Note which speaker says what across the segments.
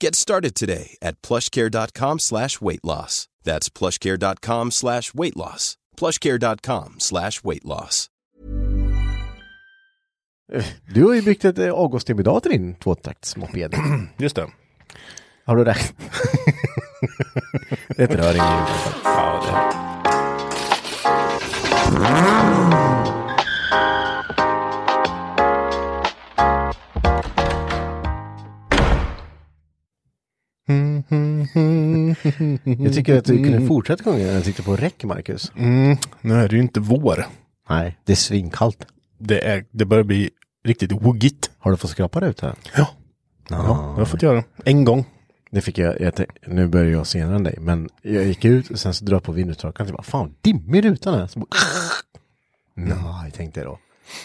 Speaker 1: Get started today at plushcare.com slash weight loss. That's plushcare.com slash weight loss. plushcare.com slash weight loss.
Speaker 2: Du har ju byggt ett eh, avgastimulator till din tvåtaktsmoped.
Speaker 3: Just det.
Speaker 2: Har du det? det är ett rör i ljudet.
Speaker 3: Ja, det.
Speaker 2: Jag tycker att du kunde fortsätta sjunga när jag tryckte på räck, Marcus.
Speaker 3: Mm, nu är det ju inte vår.
Speaker 2: Nej, det är svinkallt.
Speaker 3: Det, är, det börjar bli riktigt woggigt.
Speaker 2: Har du fått skrapa det ut här?
Speaker 3: Ja. Ja, jag har fått göra. En gång.
Speaker 2: Det fick jag, jag tänkte, nu börjar jag senare än dig, men jag gick ut och sen så drar jag på vindrutetorkaren och bara, fan dimmig rutan är. Så bara, Nej, tänkte jag då.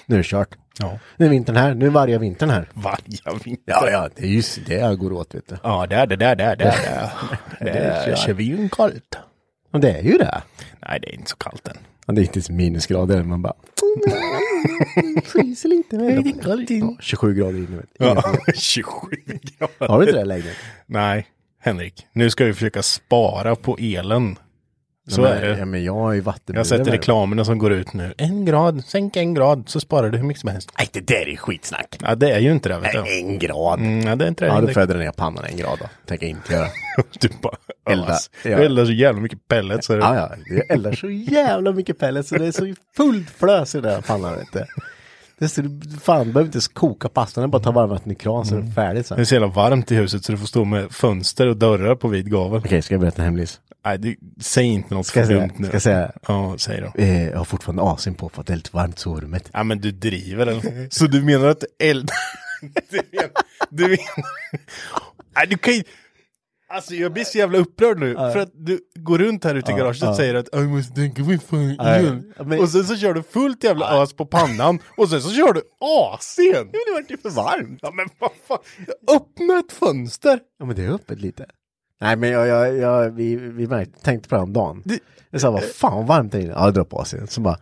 Speaker 2: Nu är det kört.
Speaker 3: Mm. Ja.
Speaker 2: Nu är vintern här, nu är varje vintern här.
Speaker 3: Varje vinter.
Speaker 2: Ja, ja, det är just det jag går åt, vet du.
Speaker 3: Ja, det är det, där, där, där, där. Det
Speaker 2: är
Speaker 3: är
Speaker 2: kört.
Speaker 3: svinkallt.
Speaker 2: Och det är ju det.
Speaker 3: Nej, det är inte så kallt än.
Speaker 2: Ja, det är inte ens minusgrader, man bara... Fryser lite. Ja, 27 grader inne, vet du.
Speaker 3: Ja, 27 grader.
Speaker 2: Har du inte det läget?
Speaker 3: Nej, Henrik. Nu ska vi försöka spara på elen. Så
Speaker 2: men,
Speaker 3: är det.
Speaker 2: Ja, men jag har ju
Speaker 3: Jag
Speaker 2: vattenburen.
Speaker 3: har sett
Speaker 2: med.
Speaker 3: reklamerna som går ut nu. En grad, sänk en grad så sparar du hur mycket som helst.
Speaker 2: Nej, det där är skitsnack.
Speaker 3: Ja, det är ju inte det. Vet du.
Speaker 2: En grad.
Speaker 3: Mm, ja, det är inte det.
Speaker 2: Ja, då
Speaker 3: Det-
Speaker 2: får jag dra ner pannan en grad då. Tänker jag inte göra.
Speaker 3: Du bara
Speaker 2: Elda.
Speaker 3: ös.
Speaker 2: Ja.
Speaker 3: Du eldar så jävla mycket pellets. så det-
Speaker 2: Ja, ja. Jag eldar så jävla mycket pellets så det är så fullt flös i den här pannan, vet du. Det är så, fan, du behöver inte ens koka pastan, det är bara att ta varmvatten i kran så är den färdig sen.
Speaker 3: Det är
Speaker 2: Okej,
Speaker 3: så jävla varmt i huset så du får stå med fönster och dörrar på vid gavel.
Speaker 2: ska jag berätta en hemlis?
Speaker 3: Nej, du, säg inte något
Speaker 2: Ska jag säga?
Speaker 3: dumt nu.
Speaker 2: Ska jag säga?
Speaker 3: Ja, säg då.
Speaker 2: Eh, jag har fortfarande asin på för att det är lite varmt i sovrummet.
Speaker 3: Ja, men du driver eller? Så du menar att eld... du menar... Du menar... Nej, du kan ju... Alltså jag blir så jävla upprörd nu. För att du går runt här ute i garaget och säger att jag måste tänka mig fan
Speaker 2: Nej,
Speaker 3: igen.
Speaker 2: men-
Speaker 3: Och sen så kör du fullt jävla as på pannan och sen så kör du AC'n.
Speaker 2: det vart ju för varmt.
Speaker 3: Ja men vad fan. Öppna ett fönster.
Speaker 2: Ja, men det är öppet lite. Nej, men jag, jag, jag, vi, vi märkte, tänkte på det om dagen.
Speaker 3: Det-
Speaker 2: Jag sa, vad fan vad varmt det är inne. Ja, jag drar på asien. Så bara,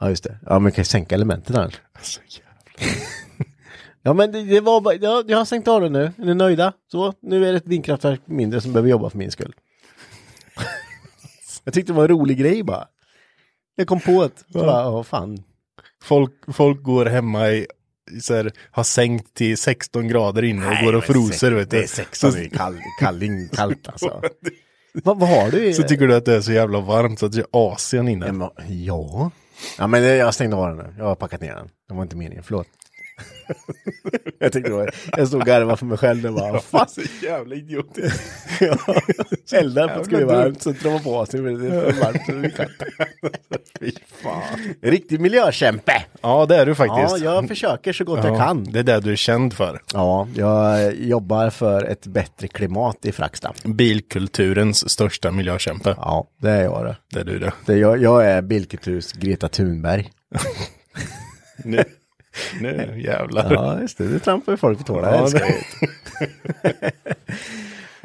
Speaker 2: ja just det. Ja, men kan jag sänka elementen här?
Speaker 3: Alltså, jävlar.
Speaker 2: Ja, men det, det var bara, ja, jag har sänkt av det nu. Är ni nöjda? Så, nu är det ett vindkraftverk mindre som behöver jobba för min skull. jag tyckte det var en rolig grej bara. Jag kom på det. Så bara, ja fan.
Speaker 3: Folk, folk går hemma i, i så här, har sänkt till 16 grader inne och går och froser vet du.
Speaker 2: Det är 16
Speaker 3: Så-
Speaker 2: i kall, kalling, kallt alltså. vad, vad har du? i-
Speaker 3: Så tycker du att det är så jävla varmt så att det är Asien
Speaker 2: Ja,
Speaker 3: inne.
Speaker 2: men- Ja. Ja, men jag stängde av den nu. Jag har packat ner den. Det var inte meningen, förlåt. jag tänkte då, jag stod och garvade för mig själv. Jag bara, fan.
Speaker 3: jävla idiot.
Speaker 2: Ja. Eldar för att det skulle
Speaker 3: Jävla
Speaker 2: vara
Speaker 3: dumt.
Speaker 2: varmt, så drar man på sig. Men det är för varmt så det blir kallt. Fy fan. Riktig miljökämpe.
Speaker 3: Ja, det är du
Speaker 2: Ja,
Speaker 3: faktiskt.
Speaker 2: jag försöker så gott jag
Speaker 3: Ja,
Speaker 2: kan.
Speaker 3: Det är det du är känd för.
Speaker 2: Ja, jag jobbar för ett bättre klimat i Fracksta.
Speaker 3: Bilkulturens största miljökämpe.
Speaker 2: Ja, det är jag det.
Speaker 3: Det är du det.
Speaker 2: det jag, jag är Bilketus Greta Thunberg.
Speaker 3: Nu, nu jävlar.
Speaker 2: Ja, just det. Du trampar ju folk på tårna.
Speaker 3: Ja,
Speaker 2: Jag älskar
Speaker 3: det-
Speaker 2: det.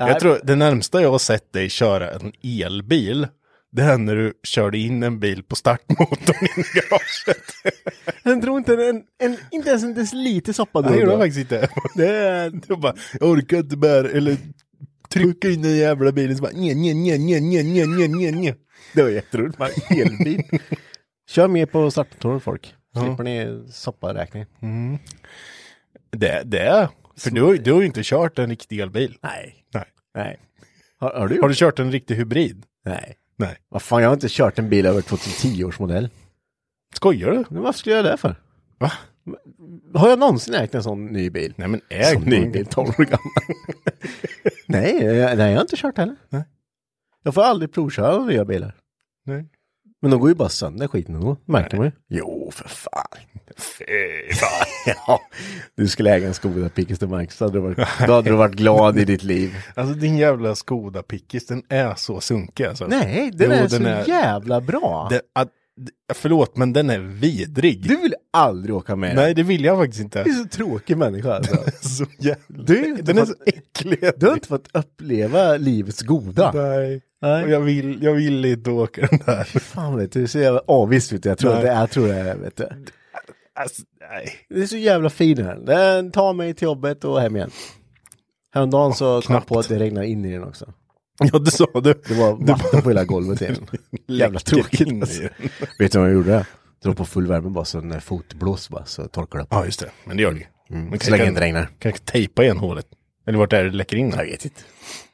Speaker 3: Jag tror det närmsta jag har sett dig köra en elbil, det är när du körde in en bil på startmotorn in i garaget.
Speaker 2: Den drog inte en, en, inte ens en deciliter soppa
Speaker 3: Nej, det
Speaker 2: drog
Speaker 3: gjorde
Speaker 2: den.
Speaker 3: jag faktiskt inte. Det är, det bara, jag orkar inte bära, eller trycka in den jävla bilen. Så bara, nja, nja, nja, nja, nja, nja, nja, nja, nja. Det var jätteroligt. Bara, elbil.
Speaker 2: Kör mer på startmotorer folk. Slipper ni sopparäkning.
Speaker 3: Det, det är. För du, har ju- du har ju inte kört en riktig elbil.
Speaker 2: Nej.
Speaker 3: Nej.
Speaker 2: Nej. Har, har du
Speaker 3: Har
Speaker 2: gjort?
Speaker 3: du kört en riktig hybrid?
Speaker 2: Nej.
Speaker 3: Nej.
Speaker 2: Vad fan, jag har inte kört en bil över 2010 års modell.
Speaker 3: Skojar du?
Speaker 2: Men varför skulle jag göra det för?
Speaker 3: Va?
Speaker 2: Har jag någonsin ägt en sån ny bil?
Speaker 3: Nej men äg
Speaker 2: Som ny bil, 12 år gammal. nej, jag, nej, jag har inte kört heller.
Speaker 3: Nej.
Speaker 2: Jag får aldrig provköra nya bilar.
Speaker 3: Nej.
Speaker 2: Men de går ju bara sönder skiten ändå, märker man ju. Jo, för fan. Fy fan. ja, du skulle äga en Skoda Pickis till Marcus, då hade, du varit, då hade du varit glad i ditt liv.
Speaker 3: Alltså din jävla Skoda-pickis, den är så sunkig alltså.
Speaker 2: Nej, den
Speaker 3: Jo,
Speaker 2: är så
Speaker 3: är-
Speaker 2: jävla bra.
Speaker 3: Den, att, d- förlåt, men den är vidrig.
Speaker 2: Du vill aldrig åka med
Speaker 3: Nej, det vill jag faktiskt inte.
Speaker 2: Du är så tråkig människa alltså.
Speaker 3: så jävla...
Speaker 2: Du har ju inte
Speaker 3: den är så
Speaker 2: fått-
Speaker 3: äcklig.
Speaker 2: Du har inte fått uppleva livets goda.
Speaker 3: Nej.
Speaker 2: Nej.
Speaker 3: Och jag vill, jag vill inte åka den där.
Speaker 2: Fan vet du, du ser jävla avvist ut. Jag tror
Speaker 3: Nej.
Speaker 2: det är, tror det är, vet du.
Speaker 3: Alltså, nej.
Speaker 2: Det är så jävla fin här. Den tar mig till jobbet och hem igen. Häromdagen så kom jag
Speaker 3: knappt.
Speaker 2: på att det regnar in i den också.
Speaker 3: Ja, det sa du.
Speaker 2: Det var vatten på hela golvet i den. Jävla
Speaker 3: Läcker in
Speaker 2: tråkigt
Speaker 3: i
Speaker 2: alltså.
Speaker 3: den.
Speaker 2: Vet du vad jag gjorde? Drog på full värme bara så när fotblås bara så torkar det upp.
Speaker 3: Ja, just det. Men det gör det ju. Man
Speaker 2: Så länge det inte regnar.
Speaker 3: Kan jag tejpa igen hålet? Eller vart är det läcker in?
Speaker 2: Jag vet inte.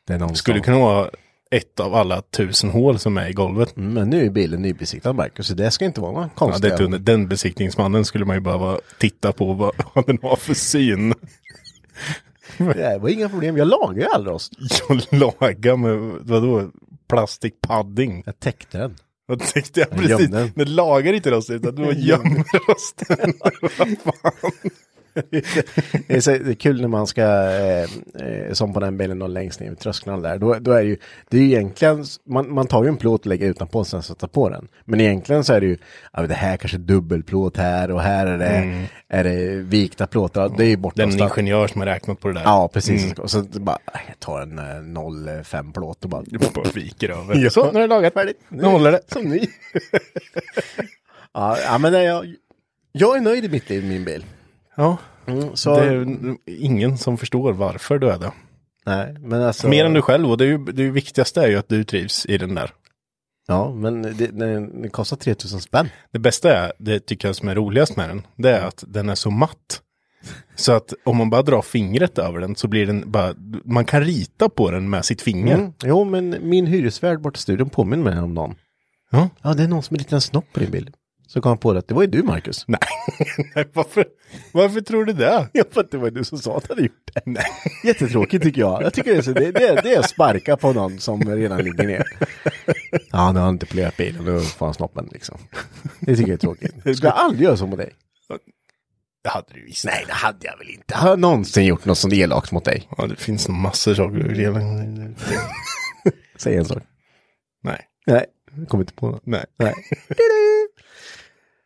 Speaker 2: Det är någon
Speaker 3: Skulle
Speaker 2: Skulle
Speaker 3: det kunna vara ett av alla tusen hål som är i golvet.
Speaker 2: Men nu är bilen nybesiktad Marcus, så det ska inte vara några
Speaker 3: Ja, det
Speaker 2: konstiga...
Speaker 3: är tunnet. Den besiktningsmannen skulle man ju behöva titta på vad vad den har för syn.
Speaker 2: det var inga problem. Jag lagar ju aldrig oss.
Speaker 3: Jag laga med, vadå, plastikpadding.
Speaker 2: Jag täckte den.
Speaker 3: Vad tänkte jag
Speaker 2: Jag
Speaker 3: precis?
Speaker 2: gömde den.
Speaker 3: Men lagar inte rosten utan du gömmer rosten.
Speaker 2: Det är, så, det är kul när man ska, eh, eh, som på den bilen då längst ner vid trösklarna där, då, då är det ju, det är ju egentligen, man, man tar ju en plåt och lägger utanpå och sen sätter på den. Men egentligen så är det ju, ja, men det här kanske är dubbelplåt här och här är det, är det vikta plåtar, det Mm. är ju borta.
Speaker 3: Den
Speaker 2: någonstans.
Speaker 3: ingenjör som har räknat på det där.
Speaker 2: Ja, precis. Och så bara, äh, jag tar en eh, 0,5 plåt och bara,
Speaker 3: Bara viker över.
Speaker 2: Ja.
Speaker 3: Så, nu är det lagat färdigt. Nu håller det.
Speaker 2: som ny. ja, ja, men det är jag, jag är nöjd i mitt liv, min bil.
Speaker 3: Ja,
Speaker 2: Mm, så,
Speaker 3: det är ju ingen som förstår varför du är det.
Speaker 2: nej, men alltså,
Speaker 3: Mer än du själv och det, är ju, det viktigaste är ju att du trivs i den där.
Speaker 2: Ja, men det, den, den kostar 3000 spänn.
Speaker 3: Det bästa är, det tycker jag som är roligast med den, det är att den är så matt. Så att om man bara drar fingret över den så blir den bara, man kan rita på den med sitt finger.
Speaker 2: Mm. Jo, men min hyresvärd borta i studion påminner mig om någon.
Speaker 3: Ja.
Speaker 2: Ja, det är någon som är lite en snopp på din bild. Så kom jag på det att det var ju du, Marcus.
Speaker 3: Nej. Nej, varför, varför tror du det?
Speaker 2: Ja, för att det var du som sa att du hade gjort det. Nej. Jättetråkigt tycker jag. Jag tycker det är, så, det, det, det är att sparka på någon som redan ligger ner. Ja, nu har han inte plöjat bilen, nu får han snoppen liksom. Det tycker jag är tråkigt. Ska jag aldrig göra så mot dig?
Speaker 3: Det hade du visst.
Speaker 2: Nej, det hade jag väl inte. Har jag någonsin gjort något sånt elakt mot dig?
Speaker 3: Ja, det finns nog massor saker du vill
Speaker 2: Säg en sak.
Speaker 3: Nej.
Speaker 2: Nej, jag kommer inte på något.
Speaker 3: Nej.
Speaker 2: Nej.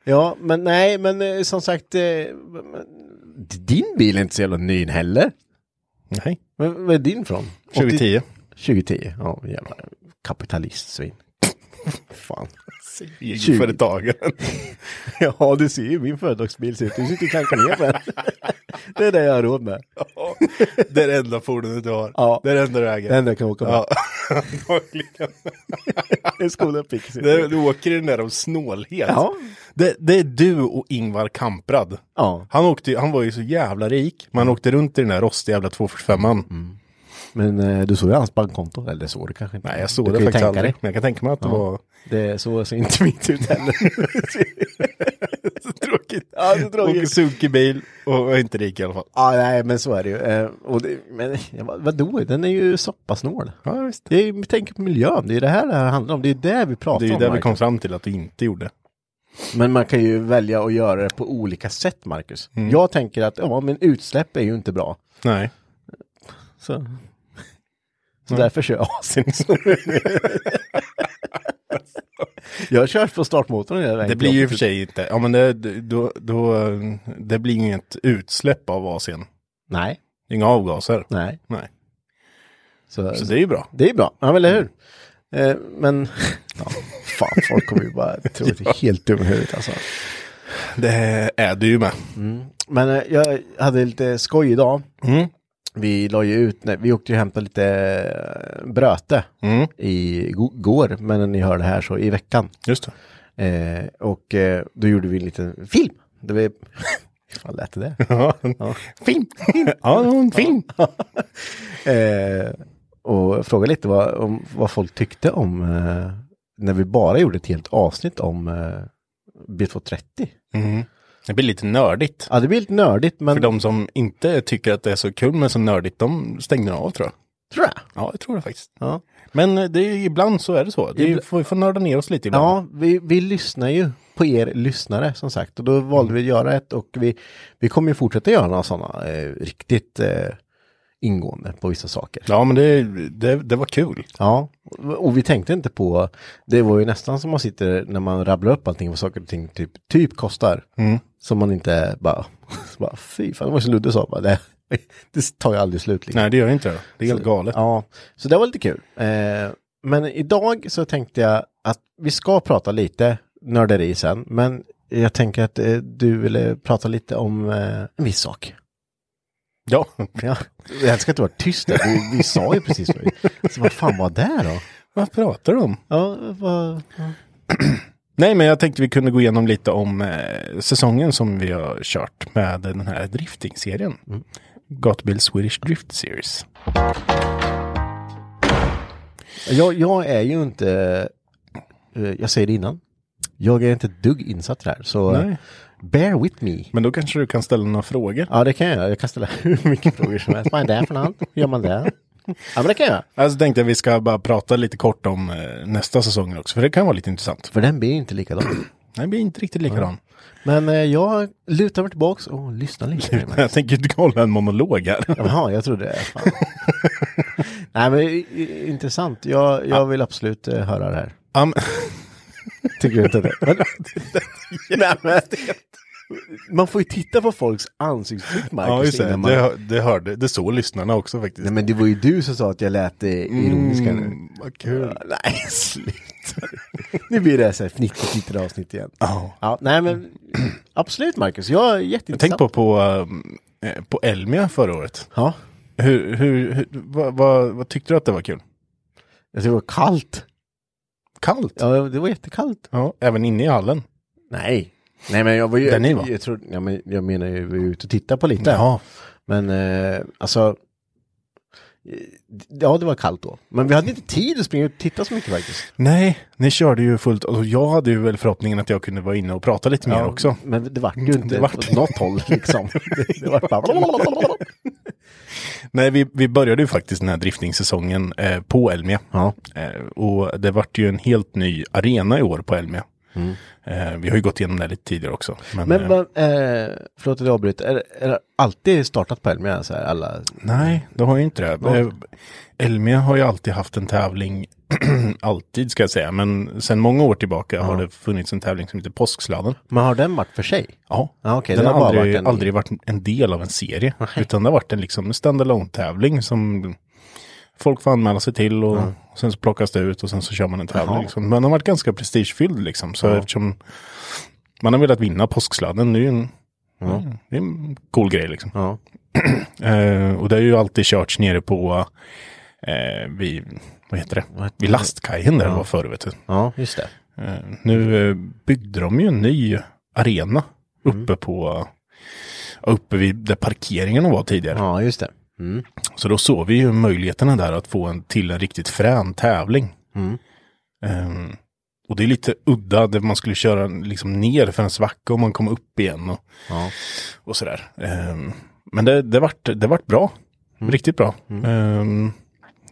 Speaker 2: ja, men nej, men eh, som sagt, eh, men- din bil är inte så jävla ny heller.
Speaker 3: Nej.
Speaker 2: Men vad är din från? 80
Speaker 3: 2010.
Speaker 2: 2010, ja jävla kapitalistsvin. Fan.
Speaker 3: Egenföretagaren.
Speaker 2: Ja, du ser ju hur min företagsbil ser ut. Du sitter och klankar ner på den. det är det jag har råd med.
Speaker 3: Ja, det är det enda fordonet du har.
Speaker 2: Ja.
Speaker 3: Det är det enda du äger.
Speaker 2: Det enda jag kan åka med.
Speaker 3: Ja, antagligen.
Speaker 2: Det är skolan Pixie.
Speaker 3: Det är- Du åker i den där av snålhet.
Speaker 2: Ja.
Speaker 3: Det, det är du och Ingvar Kamprad.
Speaker 2: Ja. Mm.
Speaker 3: Han, åkte, ju- han var ju så jävla rik. Man åkte runt i den där rostiga jävla 245an.
Speaker 2: Men eh, du såg ju hans bankkonto. Eller såg du kanske inte.
Speaker 3: Nej, jag såg
Speaker 2: du
Speaker 3: det
Speaker 2: kan ju
Speaker 3: faktiskt
Speaker 2: tänka
Speaker 3: aldrig.
Speaker 2: dig.
Speaker 3: Men jag kan tänka mig att det var
Speaker 2: Det så ser inte mitt ut heller.
Speaker 3: så tråkigt.
Speaker 2: Ja, det är tråkigt.
Speaker 3: Åker sunkig bil och är inte rik i alla fall.
Speaker 2: Ja, nej, men så är det ju. Eh, och det, men ja, vad- vadå, den är ju soppasnål. Ja, visst. Det är, ju- vi tänker på miljön, det är det här det här handlar om. Det är det vi pratar
Speaker 3: Det är ju
Speaker 2: om,
Speaker 3: det vi
Speaker 2: Marcus.
Speaker 3: kom fram till att du inte gjorde.
Speaker 2: Men man kan ju välja att göra det på olika sätt, Marcus. Jag tänker att ja, men utsläpp är ju inte bra.
Speaker 3: Nej.
Speaker 2: Så, så därför kör jag asigt. jag har kört på startmotorn hela vägen.
Speaker 3: Det blir ju i och för sig inte, ja men det, då, då, det blir inget utsläpp av AC'n.
Speaker 2: Nej,
Speaker 3: Inga avgaser.
Speaker 2: nej.
Speaker 3: Nej.
Speaker 2: Så,
Speaker 3: Så det är ju bra.
Speaker 2: det är bra, ja, men eller hur? Eh, men, ja, fan, folk kommer ju bara tro att det är helt dum i huvudet alltså.
Speaker 3: Det är du ju med.
Speaker 2: Men eh, jag hade lite skoj idag. Vi la ju ut, nej, vi åkte ju och hämtade lite eh, bröte i go- går, men när ni hör det här så i veckan.
Speaker 3: Just det.
Speaker 2: Eh, och eh, då gjorde vi en liten film. Det var... Vad lät det?
Speaker 3: Ja. Film! ja, en film.
Speaker 2: eh, och fråga lite vad, om, vad folk tyckte om eh, när vi bara gjorde ett helt avsnitt om eh, B230.
Speaker 3: Det blir lite nördigt.
Speaker 2: Ja, det blir lite nördigt, men
Speaker 3: För de som inte tycker att det är så kul men så nördigt, de stänger av tror jag.
Speaker 2: tror jag.
Speaker 3: Ja, jag tror det faktiskt.
Speaker 2: Ja.
Speaker 3: Men eh, det är, ibland så är det så. Det är,
Speaker 2: Ibla-
Speaker 3: får, vi får nörda ner oss lite ibland.
Speaker 2: Ja, vi, vi lyssnar ju på er lyssnare som sagt och då valde vi att göra ett och vi, vi kommer ju fortsätta göra några sådana eh, riktigt eh, ingående på vissa saker.
Speaker 3: Ja, men det, det, det var kul.
Speaker 2: Ja, och vi tänkte inte på, det var ju nästan som man sitter när man rabblar upp allting vad saker och ting typ, typ kostar.
Speaker 3: Mm.
Speaker 2: Som man inte bara, så bara fy fan, det var som Ludde sa, bara, det, det tar ju aldrig slut. Liksom.
Speaker 3: Nej, det gör det inte. Det är helt galet.
Speaker 2: Ja, så det var lite kul. Eh, men idag så tänkte jag att vi ska prata lite nörderi sen, men jag tänker att eh, du ville prata lite om eh, en viss sak.
Speaker 3: Ja.
Speaker 2: Ja, jag ska inte vara tyst där, vi, vi sa ju precis vad vi- Så vad fan var det då?
Speaker 3: Vad pratar du om?
Speaker 2: Ja, vad...
Speaker 3: Nej, men jag tänkte vi kunde gå igenom lite om eh, säsongen som vi har kört med den här drifting-serien. Gatubil Swedish Drift Series.
Speaker 2: Jag, jag är ju inte, eh, jag säger det innan, jag är inte ett dugg insatt i det här, så
Speaker 3: Nej.
Speaker 2: bear with me.
Speaker 3: Men då kanske du kan ställa några frågor.
Speaker 2: Ja, det kan jag göra. Jag kan ställa hur mycket frågor som helst. Vad är det för något? Hur gör man det? Ja, men det kan jag.
Speaker 3: Alltså tänkte jag vi ska bara prata lite kort om eh, nästa säsong också, för det kan vara lite intressant.
Speaker 2: För den blir ju inte likadan.
Speaker 3: Den blir inte riktigt likadan.
Speaker 2: Men eh, jag lutar mig tillbaks och lyssnar lite.
Speaker 3: Jag tänker inte hålla en monolog här.
Speaker 2: Jaha, jag trodde det. Fan. Nej, men i- i- intressant. Jag, jag vill absolut eh, höra det här.
Speaker 3: Ja, men-
Speaker 2: Tycker du inte det? Nej, men, man får ju titta på folks ansiktsuttryck, Marcus,
Speaker 3: ja, just det.
Speaker 2: innan man...
Speaker 3: Det, hör- det hörde, det såg lyssnarna också faktiskt.
Speaker 2: Nej, men det var ju du som sa att jag lät eh, ironisk här nu.
Speaker 3: Mm, vad kul.
Speaker 2: Ja, Nej, sluta. nu blir det så här fnittrigt litet avsnitt igen.
Speaker 3: Ja.
Speaker 2: Ja, nej men absolut Marcus, jag är
Speaker 3: Jag
Speaker 2: jätteintressant.
Speaker 3: tänkte på, på, eh, på Elmia förra året.
Speaker 2: Ja,
Speaker 3: Hur, hur, hur, vad, vad, vad tyckte du att det var kul?
Speaker 2: jag tyckte det var kallt.
Speaker 3: Kallt? Ja.
Speaker 2: Ja, det var jättekallt.
Speaker 3: Även inne i hallen?
Speaker 2: Nej. Nej men jag var ju...
Speaker 3: Där ni var.
Speaker 2: Jag, jag, tror, ja, men jag menar ju, vi var ute och tittade på lite.
Speaker 3: Jaha.
Speaker 2: Men eh, alltså... eh, Ja, det var kallt då. Men vi hade inte tid att springa ut och titta så mycket faktiskt.
Speaker 3: Nej, ni körde ju fullt och jag hade ju väl förhoppningen att jag kunde vara inne och prata lite mer också.
Speaker 2: Men det vart ju inte
Speaker 3: vart-
Speaker 2: åt något håll liksom. det, det vart bara...
Speaker 3: Nej, vi, vi började ju faktiskt den här driftingsäsongen eh, på Elmia.
Speaker 2: ja.
Speaker 3: Eh, och det vart ju en helt ny arena i år på Elmia. Eh, vi har ju gått igenom det lite tidigare också. Men,
Speaker 2: Mm. Men
Speaker 3: eh,
Speaker 2: vad, eh, förlåt att jag avbryter, är, är det alltid startat på Elmia så här alla?
Speaker 3: Nej, det har ju inte det. Eh, Elmia har ju alltid haft en tävling, alltid ska jag säga, men sedan många år tillbaka har det funnits en tävling som heter Påsksladden.
Speaker 2: Men har den varit för sig?
Speaker 3: Ja,
Speaker 2: Ja, okej,
Speaker 3: den
Speaker 2: det
Speaker 3: har
Speaker 2: har bara
Speaker 3: aldrig
Speaker 2: varit
Speaker 3: varit, en...
Speaker 2: en-
Speaker 3: aldrig varit en del av en serie, utan det har varit en liksom standalone tävling som folk får anmäla sig till och sen så plockas det ut och sen så kör man en tävling. Liksom. Men den har varit ganska prestigefylld liksom, så eftersom man har velat vinna påsksladden, det är ju en, det är en cool grej liksom.
Speaker 2: Ja.
Speaker 3: Eh, och det har ju alltid körts nere på, eh, vid, vad heter det, vid lastkajen där det var förr vet du.
Speaker 2: Ja, just det.
Speaker 3: Eh, nu eh, byggde de ju en ny arena
Speaker 2: Mm.
Speaker 3: uppe på uppe vid där parkeringarna var tidigare.
Speaker 2: Ja, just det. Mm.
Speaker 3: Så då såg vi ju möjligheterna där att få en till en riktigt frän tävling.
Speaker 2: Mm.
Speaker 3: Eh, och det är lite udda, där man skulle köra en- liksom ner för en svacka och man kom upp igen och,
Speaker 2: Ja.
Speaker 3: och sådär. Eh, men det, det, vart, det vart bra,
Speaker 2: Mm.
Speaker 3: riktigt bra. Eh, eh,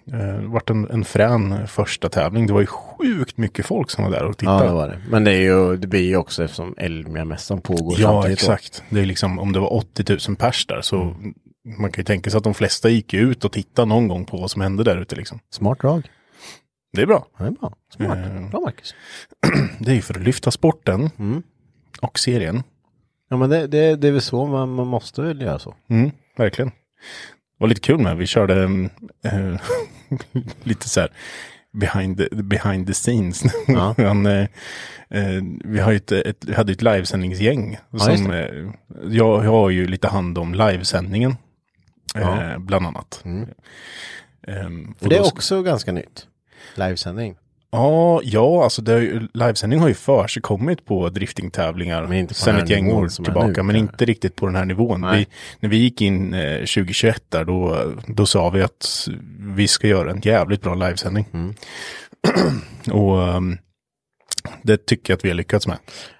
Speaker 3: det vart en, en frän första tävling. Det var ju sjukt mycket folk som var där och
Speaker 2: ja,
Speaker 3: tittade.
Speaker 2: det var det. Men det, är ju, det blir ju också eftersom Elmia-mässan pågår
Speaker 3: Ja,
Speaker 2: samtidigt. då.
Speaker 3: exakt. Det är liksom, om det var 80 000 pers där så man kan ju tänka sig att de flesta gick ju ut och tittade någon gång på vad som hände där ute liksom.
Speaker 2: Smart drag.
Speaker 3: Det är bra.
Speaker 2: Ja, det är bra. Smart.
Speaker 3: Eh.
Speaker 2: Bra Marcus.
Speaker 3: Det är ju för att lyfta sporten och serien.
Speaker 2: Ja, men det, det, det är väl så man, man måste väl göra så.
Speaker 3: Mm, verkligen. Det var lite kul med, vi körde mm, eh, lite så här behind the, behind the scenes. Han, eh, eh, vi har ju ett, ett, vi hade ju ett livesändningsgäng.
Speaker 2: just
Speaker 3: som, eh, jag, jag har ju lite hand om livesändningen. Eh, bland annat. Ehm,
Speaker 2: För
Speaker 3: och
Speaker 2: Mm. det
Speaker 3: då
Speaker 2: är
Speaker 3: ska-
Speaker 2: också ganska nytt. Livesändning.
Speaker 3: Ja, ja alltså det, har ju- livesändning har ju försigkommit på driftingtävlingar
Speaker 2: Men inte på
Speaker 3: sen
Speaker 2: den här
Speaker 3: ett gäng
Speaker 2: nivån
Speaker 3: år
Speaker 2: som är
Speaker 3: tillbaka,
Speaker 2: nu,
Speaker 3: men
Speaker 2: kanske.
Speaker 3: inte riktigt på den här nivån.
Speaker 2: Nej.
Speaker 3: Vi, när vi gick in eh, 2021 där, då, då sa vi att vi ska göra en jävligt bra livesändning.
Speaker 2: Mm.
Speaker 3: Och ehm, det tycker jag att vi har lyckats med.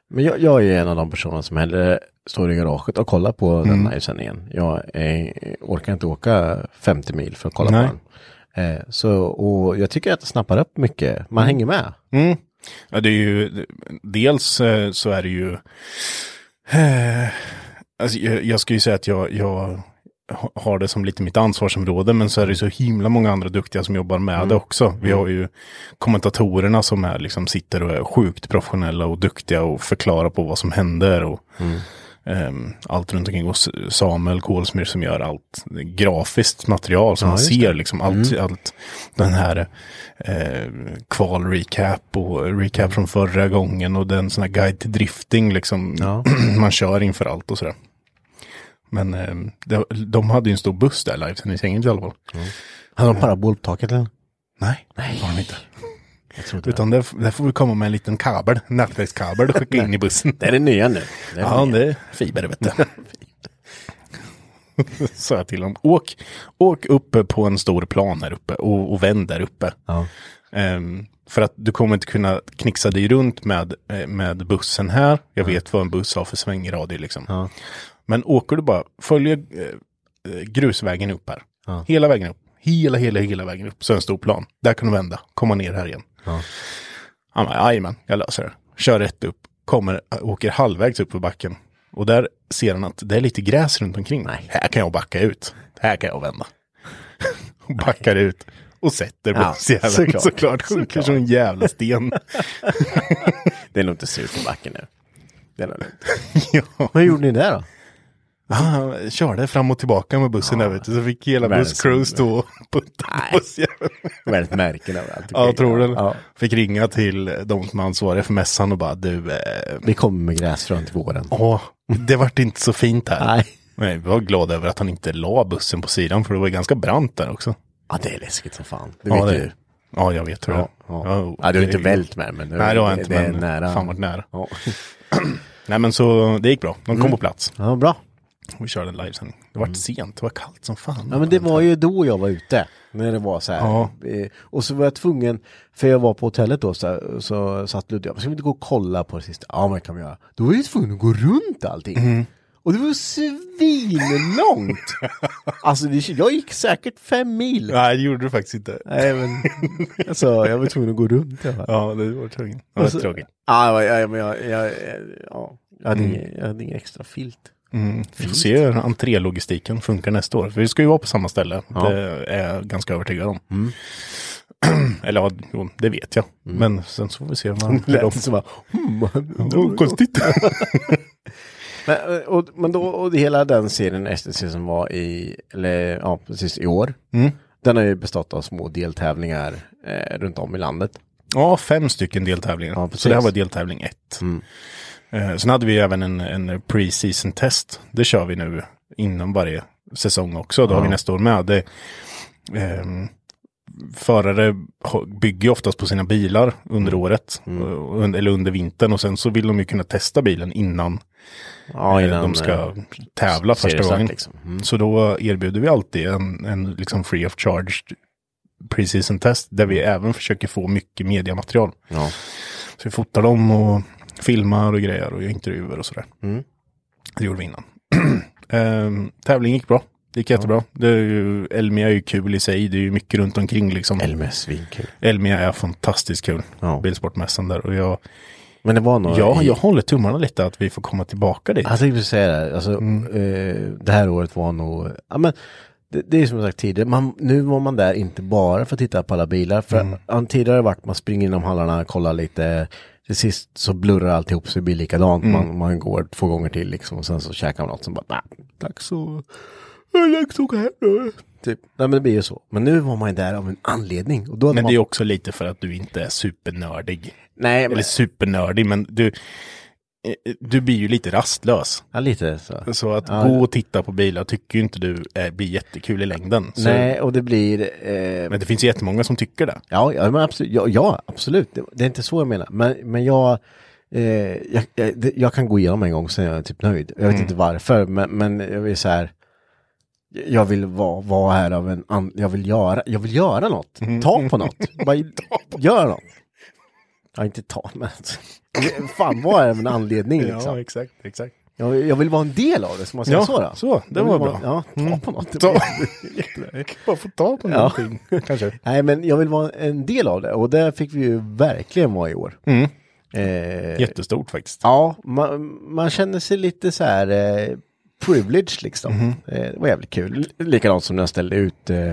Speaker 2: Men jag, jag är en av de personer som hellre står i garaget och kollar på den
Speaker 3: Mm.
Speaker 2: livesändningen. Jag eh, orkar inte åka 50 mil för att kolla
Speaker 3: Nej.
Speaker 2: på den. Eh, så, och jag tycker att det snappar upp mycket. Man hänger med.
Speaker 3: Mm. Ja, det är ju, dels eh, så är det ju, eh, alltså, jag, jag ska ju säga att jag, jag ha- har det som lite mitt ansvarsområde, men så är det ju så himla många andra duktiga som jobbar med det också. Vi har ju kommentatorerna som är, liksom, sitter och är sjukt professionella och duktiga och förklarar på vad som händer. Och, ehm, allt runt omkring och S- Samuel Kolsmyr som gör allt grafiskt material som man ser liksom allt, allt den här eh, kvalrecap och recap från förra gången och den sån här guide till drifting liksom man kör inför allt och sådär. Men ehm, de, de hade ju en stor buss där live sen i sängen i alla fall.
Speaker 2: Hade de parabol på taket eller?
Speaker 3: Nej, det har de inte. Utan där, där får vi komma med en liten kabel, nätverkskabel och skicka in i bussen.
Speaker 2: Det är det nya nu. Det är det
Speaker 3: Ja,
Speaker 2: nya.
Speaker 3: det är fiber, vet du. Sa jag till honom. Åk, åk uppe på en stor plan här uppe och, och vänd där uppe. Ehm, för att du kommer inte kunna knixa dig runt med, eh, med bussen här. Jag vet vad en buss har för svängradie liksom. Men åker du bara, följer eh, eh, grusvägen upp här. Hela vägen upp. Hela, hela, hela vägen upp. Så en stor plan. Där kan du vända, komma ner här igen. Han bara, jajamän, jag löser det. Kör rätt upp, kommer, åker halvvägs upp för backen. Och där ser han att det är lite gräs runt omkring. Här kan jag backa ut. Här kan jag vända. Och backar ut. Och sätter
Speaker 2: Ja,
Speaker 3: bussjäveln
Speaker 2: såklart.
Speaker 3: såklart. såklart. Sjunker
Speaker 2: Såklart.
Speaker 3: som en jävla sten.
Speaker 2: Det är nog inte surt på backen nu. Det är nog lugnt.
Speaker 3: ja.
Speaker 2: Vad gjorde ni där då?
Speaker 3: Han körde fram och tillbaka med bussen där vet du. Så fick hela
Speaker 2: Världens
Speaker 3: busscrew stå och putta på bussjäveln.
Speaker 2: Väldigt märken överallt.
Speaker 3: Ja, jag tror det.
Speaker 2: Ja.
Speaker 3: Fick ringa till de som är ansvariga för mässan och bara du, eh,
Speaker 2: Vi kommer med gräsfrön till våren.
Speaker 3: åh, det vart inte så fint här.
Speaker 2: Nej.
Speaker 3: Nej, vi var glada över att han inte la bussen på sidan för det var ju ganska brant där också.
Speaker 2: Ja, det är läskigt som fan. Det vet
Speaker 3: ja, det-
Speaker 2: du.
Speaker 3: Ja, jag vet hur det
Speaker 2: Ja,
Speaker 3: är.
Speaker 2: ja.
Speaker 3: Ja,
Speaker 2: Ja, du har
Speaker 3: det-
Speaker 2: inte vält med men du-
Speaker 3: Nej, det har jag inte.
Speaker 2: det är
Speaker 3: men
Speaker 2: nära.
Speaker 3: Fan vart nära.
Speaker 2: Ja. Mm.
Speaker 3: Nej, men så det gick bra. De kom på plats.
Speaker 2: Ja, bra.
Speaker 3: Vi körde en livesändning. Det var sent, det var kallt som fan.
Speaker 2: Mm. Ja men det var ju då jag var ute. När det var så här.
Speaker 3: Ja.
Speaker 2: Eh, Och så var jag tvungen, för jag var på hotellet då, så, här, så satt Ludde och jag, ska vi inte gå och kolla på det sista? Ja men kan vi göra. Då var jag ju tvungen att gå runt allting.
Speaker 3: Mm.
Speaker 2: Och det var svinlångt! alltså det, jag gick säkert fem mil.
Speaker 3: Nej, det gjorde du faktiskt inte.
Speaker 2: Nej men, alltså jag var tvungen att gå runt i alla fall.
Speaker 3: Ja, det var tråkigt. Det var
Speaker 2: så-
Speaker 3: tråkigt.
Speaker 2: Ja, ja, ja, men jag, jag, ja, jag,
Speaker 3: Mm.
Speaker 2: hade ingen, jag hade ingen extra filt.
Speaker 3: Vi får se hur entrélogistiken funkar nästa år. För vi ska ju vara på samma ställe. Det är jag ganska övertygad om.
Speaker 2: Mm.
Speaker 3: Eller ja, jo, det vet jag. Men sen så får vi se vad hur
Speaker 2: Lät
Speaker 3: de...
Speaker 2: som bara, hmm,
Speaker 3: Ja, Konstigt.
Speaker 2: Men, och, men då, och det hela den serien STC som var i, eller ja, precis i år.
Speaker 3: Mm.
Speaker 2: Den har ju bestått av små deltävlingar eh, runt om i landet.
Speaker 3: Ja, fem stycken deltävlingar.
Speaker 2: Ja, precis. Mm.
Speaker 3: så det här var deltävling ett. Eh, sen hade vi även en, en pre-season test. Det kör vi nu inom varje säsong också. Det har vi nästa år med. Det, ehm, förare ho- bygger ju oftast på sina bilar under
Speaker 2: Mm.
Speaker 3: året. och- und- Eller under vintern. Och sen så vill de ju kunna testa bilen innan
Speaker 2: Ja, eh,
Speaker 3: innan de ska tävla första
Speaker 2: seriestart,
Speaker 3: gången.
Speaker 2: liksom. Mm.
Speaker 3: Så då erbjuder vi alltid en, en liksom free of charge preseason test där vi
Speaker 2: Mm.
Speaker 3: även försöker få mycket mediamaterial.
Speaker 2: Ja.
Speaker 3: Så vi fotar dem och filmar och grejer och gör intervjuer och sådär.
Speaker 2: Mm.
Speaker 3: Det gjorde vi innan. Ehm, tävling gick bra. Det gick jättebra. Det är ju, Elmia är ju kul i sig. Det är ju mycket runt omkring liksom.
Speaker 2: Elmer svinkul.
Speaker 3: Elmia är fantastiskt kul.
Speaker 2: Ja.
Speaker 3: Bilsportmässan där. Och jag,
Speaker 2: Men det var några
Speaker 3: ja,
Speaker 2: i,
Speaker 3: jag håller tummarna lite att vi får komma tillbaka dit.
Speaker 2: Jag tänkte precis säga det, här. alltså,
Speaker 3: Mm.
Speaker 2: eh, det här året var nog, ja men det, det är som jag sagt tidigare, man, nu var man där inte bara för att titta på alla bilar, för mm. tidigare vart man springer inom hallarna, kollar lite, till sist så blurrar alltihop så det blir likadant,
Speaker 3: Mm.
Speaker 2: man, man går två gånger till liksom och sen så käkar man något som bara, nej, dags att, det är dags att åka hem nu. Typ. Nej men det blir ju så. Men nu var man ju där av en anledning. Och då hade
Speaker 3: Men
Speaker 2: man...
Speaker 3: det är också lite för att du inte är supernördig.
Speaker 2: Nej, men...
Speaker 3: Eller supernördig, men du, eh, du blir ju lite rastlös.
Speaker 2: Ja, lite så.
Speaker 3: Så att
Speaker 2: Ja.
Speaker 3: gå och titta på bilar tycker ju inte du är, blir jättekul i längden. Så,
Speaker 2: Nej, och det blir... Eh...
Speaker 3: Men det finns ju jättemånga som tycker det.
Speaker 2: Ja, ja, men absolut. Ja, ja absolut. Det, det är inte så jag menar. Men, men jag, eh, jag, jag, det- jag kan gå igenom en gång sen är jag typ nöjd. Jag vet
Speaker 3: Mm.
Speaker 2: inte varför, men, men jag vill så här. Jag vill vara vara här av en an, jag vill göra, jag vill göra något.
Speaker 3: Mm.
Speaker 2: Ta på något. Bara, gör något. Ja, inte ta, men alltså, fan vad är det med en anledning liksom.
Speaker 3: exakt. exakt.
Speaker 2: Jag, jag vill vara en del av det, så man säger
Speaker 3: Ja,
Speaker 2: så då?
Speaker 3: så, det
Speaker 2: Jag vill
Speaker 3: var
Speaker 2: vara-
Speaker 3: bra. Mm.
Speaker 2: Ja, ta på något.
Speaker 3: Ta. Bara få ta på någonting, kanske.
Speaker 2: Nej, men jag vill vara en del av det och det fick vi ju verkligen vara i år.
Speaker 3: Mm.
Speaker 2: Eh,
Speaker 3: Jättestort faktiskt.
Speaker 2: ja, man, man känner sig lite så här eh, privileged liksom. Eh, det var jävligt kul. L- Likadant som när jag ställde ut eh,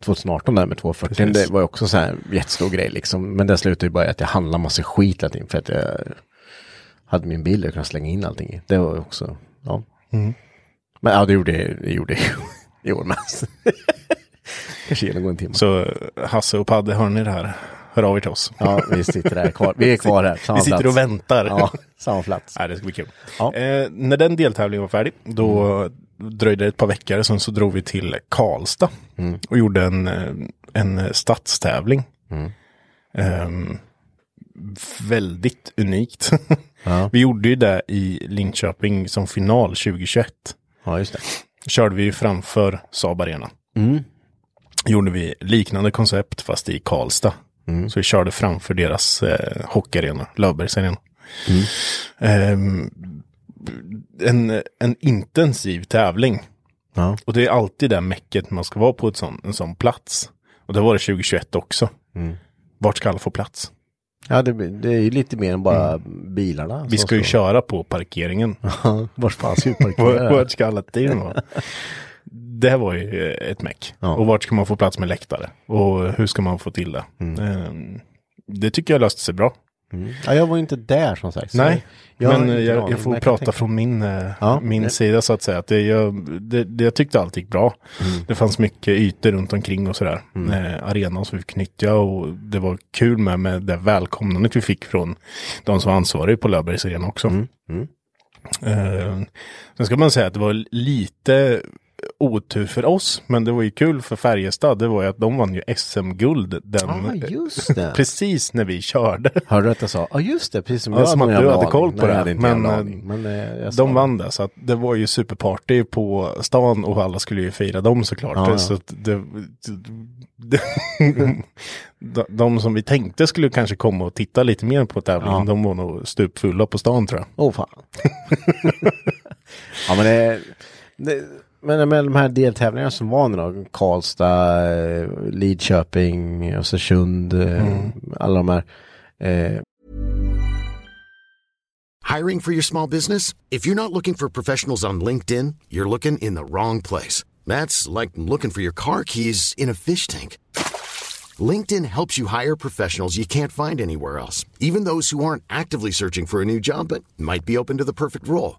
Speaker 2: 2018 där med 240.
Speaker 3: Precis.
Speaker 2: Det var ju också så här en jättestor grej liksom. Men det slutade ju bara i att jag handlade massa skit hela tiden för att jag hade min bil och kunde slänga in allting i. Det var ju också, ja. Mm. Men ja, det gjorde jag det gjorde jag i år med. Kanske genomgå en timme.
Speaker 3: Så Hasse och Padde, hör ni det här? Hör av er till oss.
Speaker 2: Ja, vi sitter där kvar. Vi är kvar här. Samma
Speaker 3: Vi sitter
Speaker 2: plats.
Speaker 3: och väntar.
Speaker 2: Ja, samma plats.
Speaker 3: Nej, det ska bli kul.
Speaker 2: Ja. Mm.
Speaker 3: Eh, när den deltävlingen var färdig, då dröjde det ett par veckor, sen så drog vi till Karlstad
Speaker 2: Mm.
Speaker 3: och gjorde en, eh, en stadstävling.
Speaker 2: Mm.
Speaker 3: Ehm, väldigt unikt.
Speaker 2: Ja.
Speaker 3: vi gjorde ju det i Linköping som final 2021.
Speaker 2: Ja, just det.
Speaker 3: Körde vi ju framför Saab Arena. Gjorde vi liknande koncept fast i Karlstad. Så vi körde framför deras eh, hockeyarena, Löfbergsarena. Ehm, en, en intensiv tävling.
Speaker 2: Ja.
Speaker 3: Och det är alltid det mäcket man ska vara på ett sån, en sån plats. Och det var det 2021 också. Vart ska alla få plats?
Speaker 2: Ja, det, blir- det är ju lite mer än bara bilarna.
Speaker 3: Mm. Vi
Speaker 2: så-
Speaker 3: ska ju
Speaker 2: så.
Speaker 3: köra på parkeringen.
Speaker 2: Ja, Vart fan ska vi parkera?
Speaker 3: Var- Vart ska alla team vara? Det här var ju eh, ett meck.
Speaker 2: Ja.
Speaker 3: Och vart ska man få plats med läktare? Och hur ska man få till det? Ehm, Det tycker jag löste sig bra.
Speaker 2: Mm. ja, jag var ju inte där som sagt. så
Speaker 3: Nej,
Speaker 2: jag har
Speaker 3: men eh,
Speaker 2: inte
Speaker 3: jag,
Speaker 2: aning,
Speaker 3: jag,
Speaker 2: men
Speaker 3: får
Speaker 2: kan
Speaker 3: prata
Speaker 2: tänka-
Speaker 3: från min, eh,
Speaker 2: Ja,
Speaker 3: min
Speaker 2: det-
Speaker 3: sida så att säga. Att det, jag, det, det, jag tyckte allt gick bra.
Speaker 2: Mm.
Speaker 3: Det fanns mycket ytor runt omkring och sådär. Eh, arenan som vi fick nyttja och det var kul med, med det välkomnandet vi fick från de som var ansvariga på Löfbergs arena också.
Speaker 2: Mm,
Speaker 3: Eh, sen ska man säga att det var lite otur för oss, men det var ju kul för Färjestad. Det var ju att de vann ju SM-guld den, eh,
Speaker 2: Ja, Ah, just det.
Speaker 3: precis när vi körde.
Speaker 2: Hörde du att jag sa? Ja, just det. Precis som
Speaker 3: Ja,
Speaker 2: jag
Speaker 3: som
Speaker 2: någon
Speaker 3: att du
Speaker 2: jävla
Speaker 3: hade
Speaker 2: aning.
Speaker 3: koll på
Speaker 2: Nej,
Speaker 3: det.
Speaker 2: Jag hade inte
Speaker 3: Men,
Speaker 2: men,
Speaker 3: eh,
Speaker 2: aning. men eh, jag sa
Speaker 3: De vann det, så att det var ju superparty på stan och alla skulle ju fira dem såklart.
Speaker 2: Ja, ja.
Speaker 3: Så att det, det, de, de som vi tänkte skulle kanske komma och titta lite mer på tävlingen,
Speaker 2: Ja.
Speaker 3: de var nog stupfulla på stan tror jag.
Speaker 2: Åh oh, fan. ja men det, det men med de här deltävlingarna som var nu då, Karlstad, eh, Lidköping, Östersund,
Speaker 3: Mm.
Speaker 2: eh, alla de här. Eh,
Speaker 4: Hiring for your small business? If you're not looking for professionals on LinkedIn, you're looking in the wrong place. That's like looking for your car keys in a fish tank. LinkedIn helps you hire professionals you can't find anywhere else, even those who aren't actively searching for a new job but might be open to the perfect role.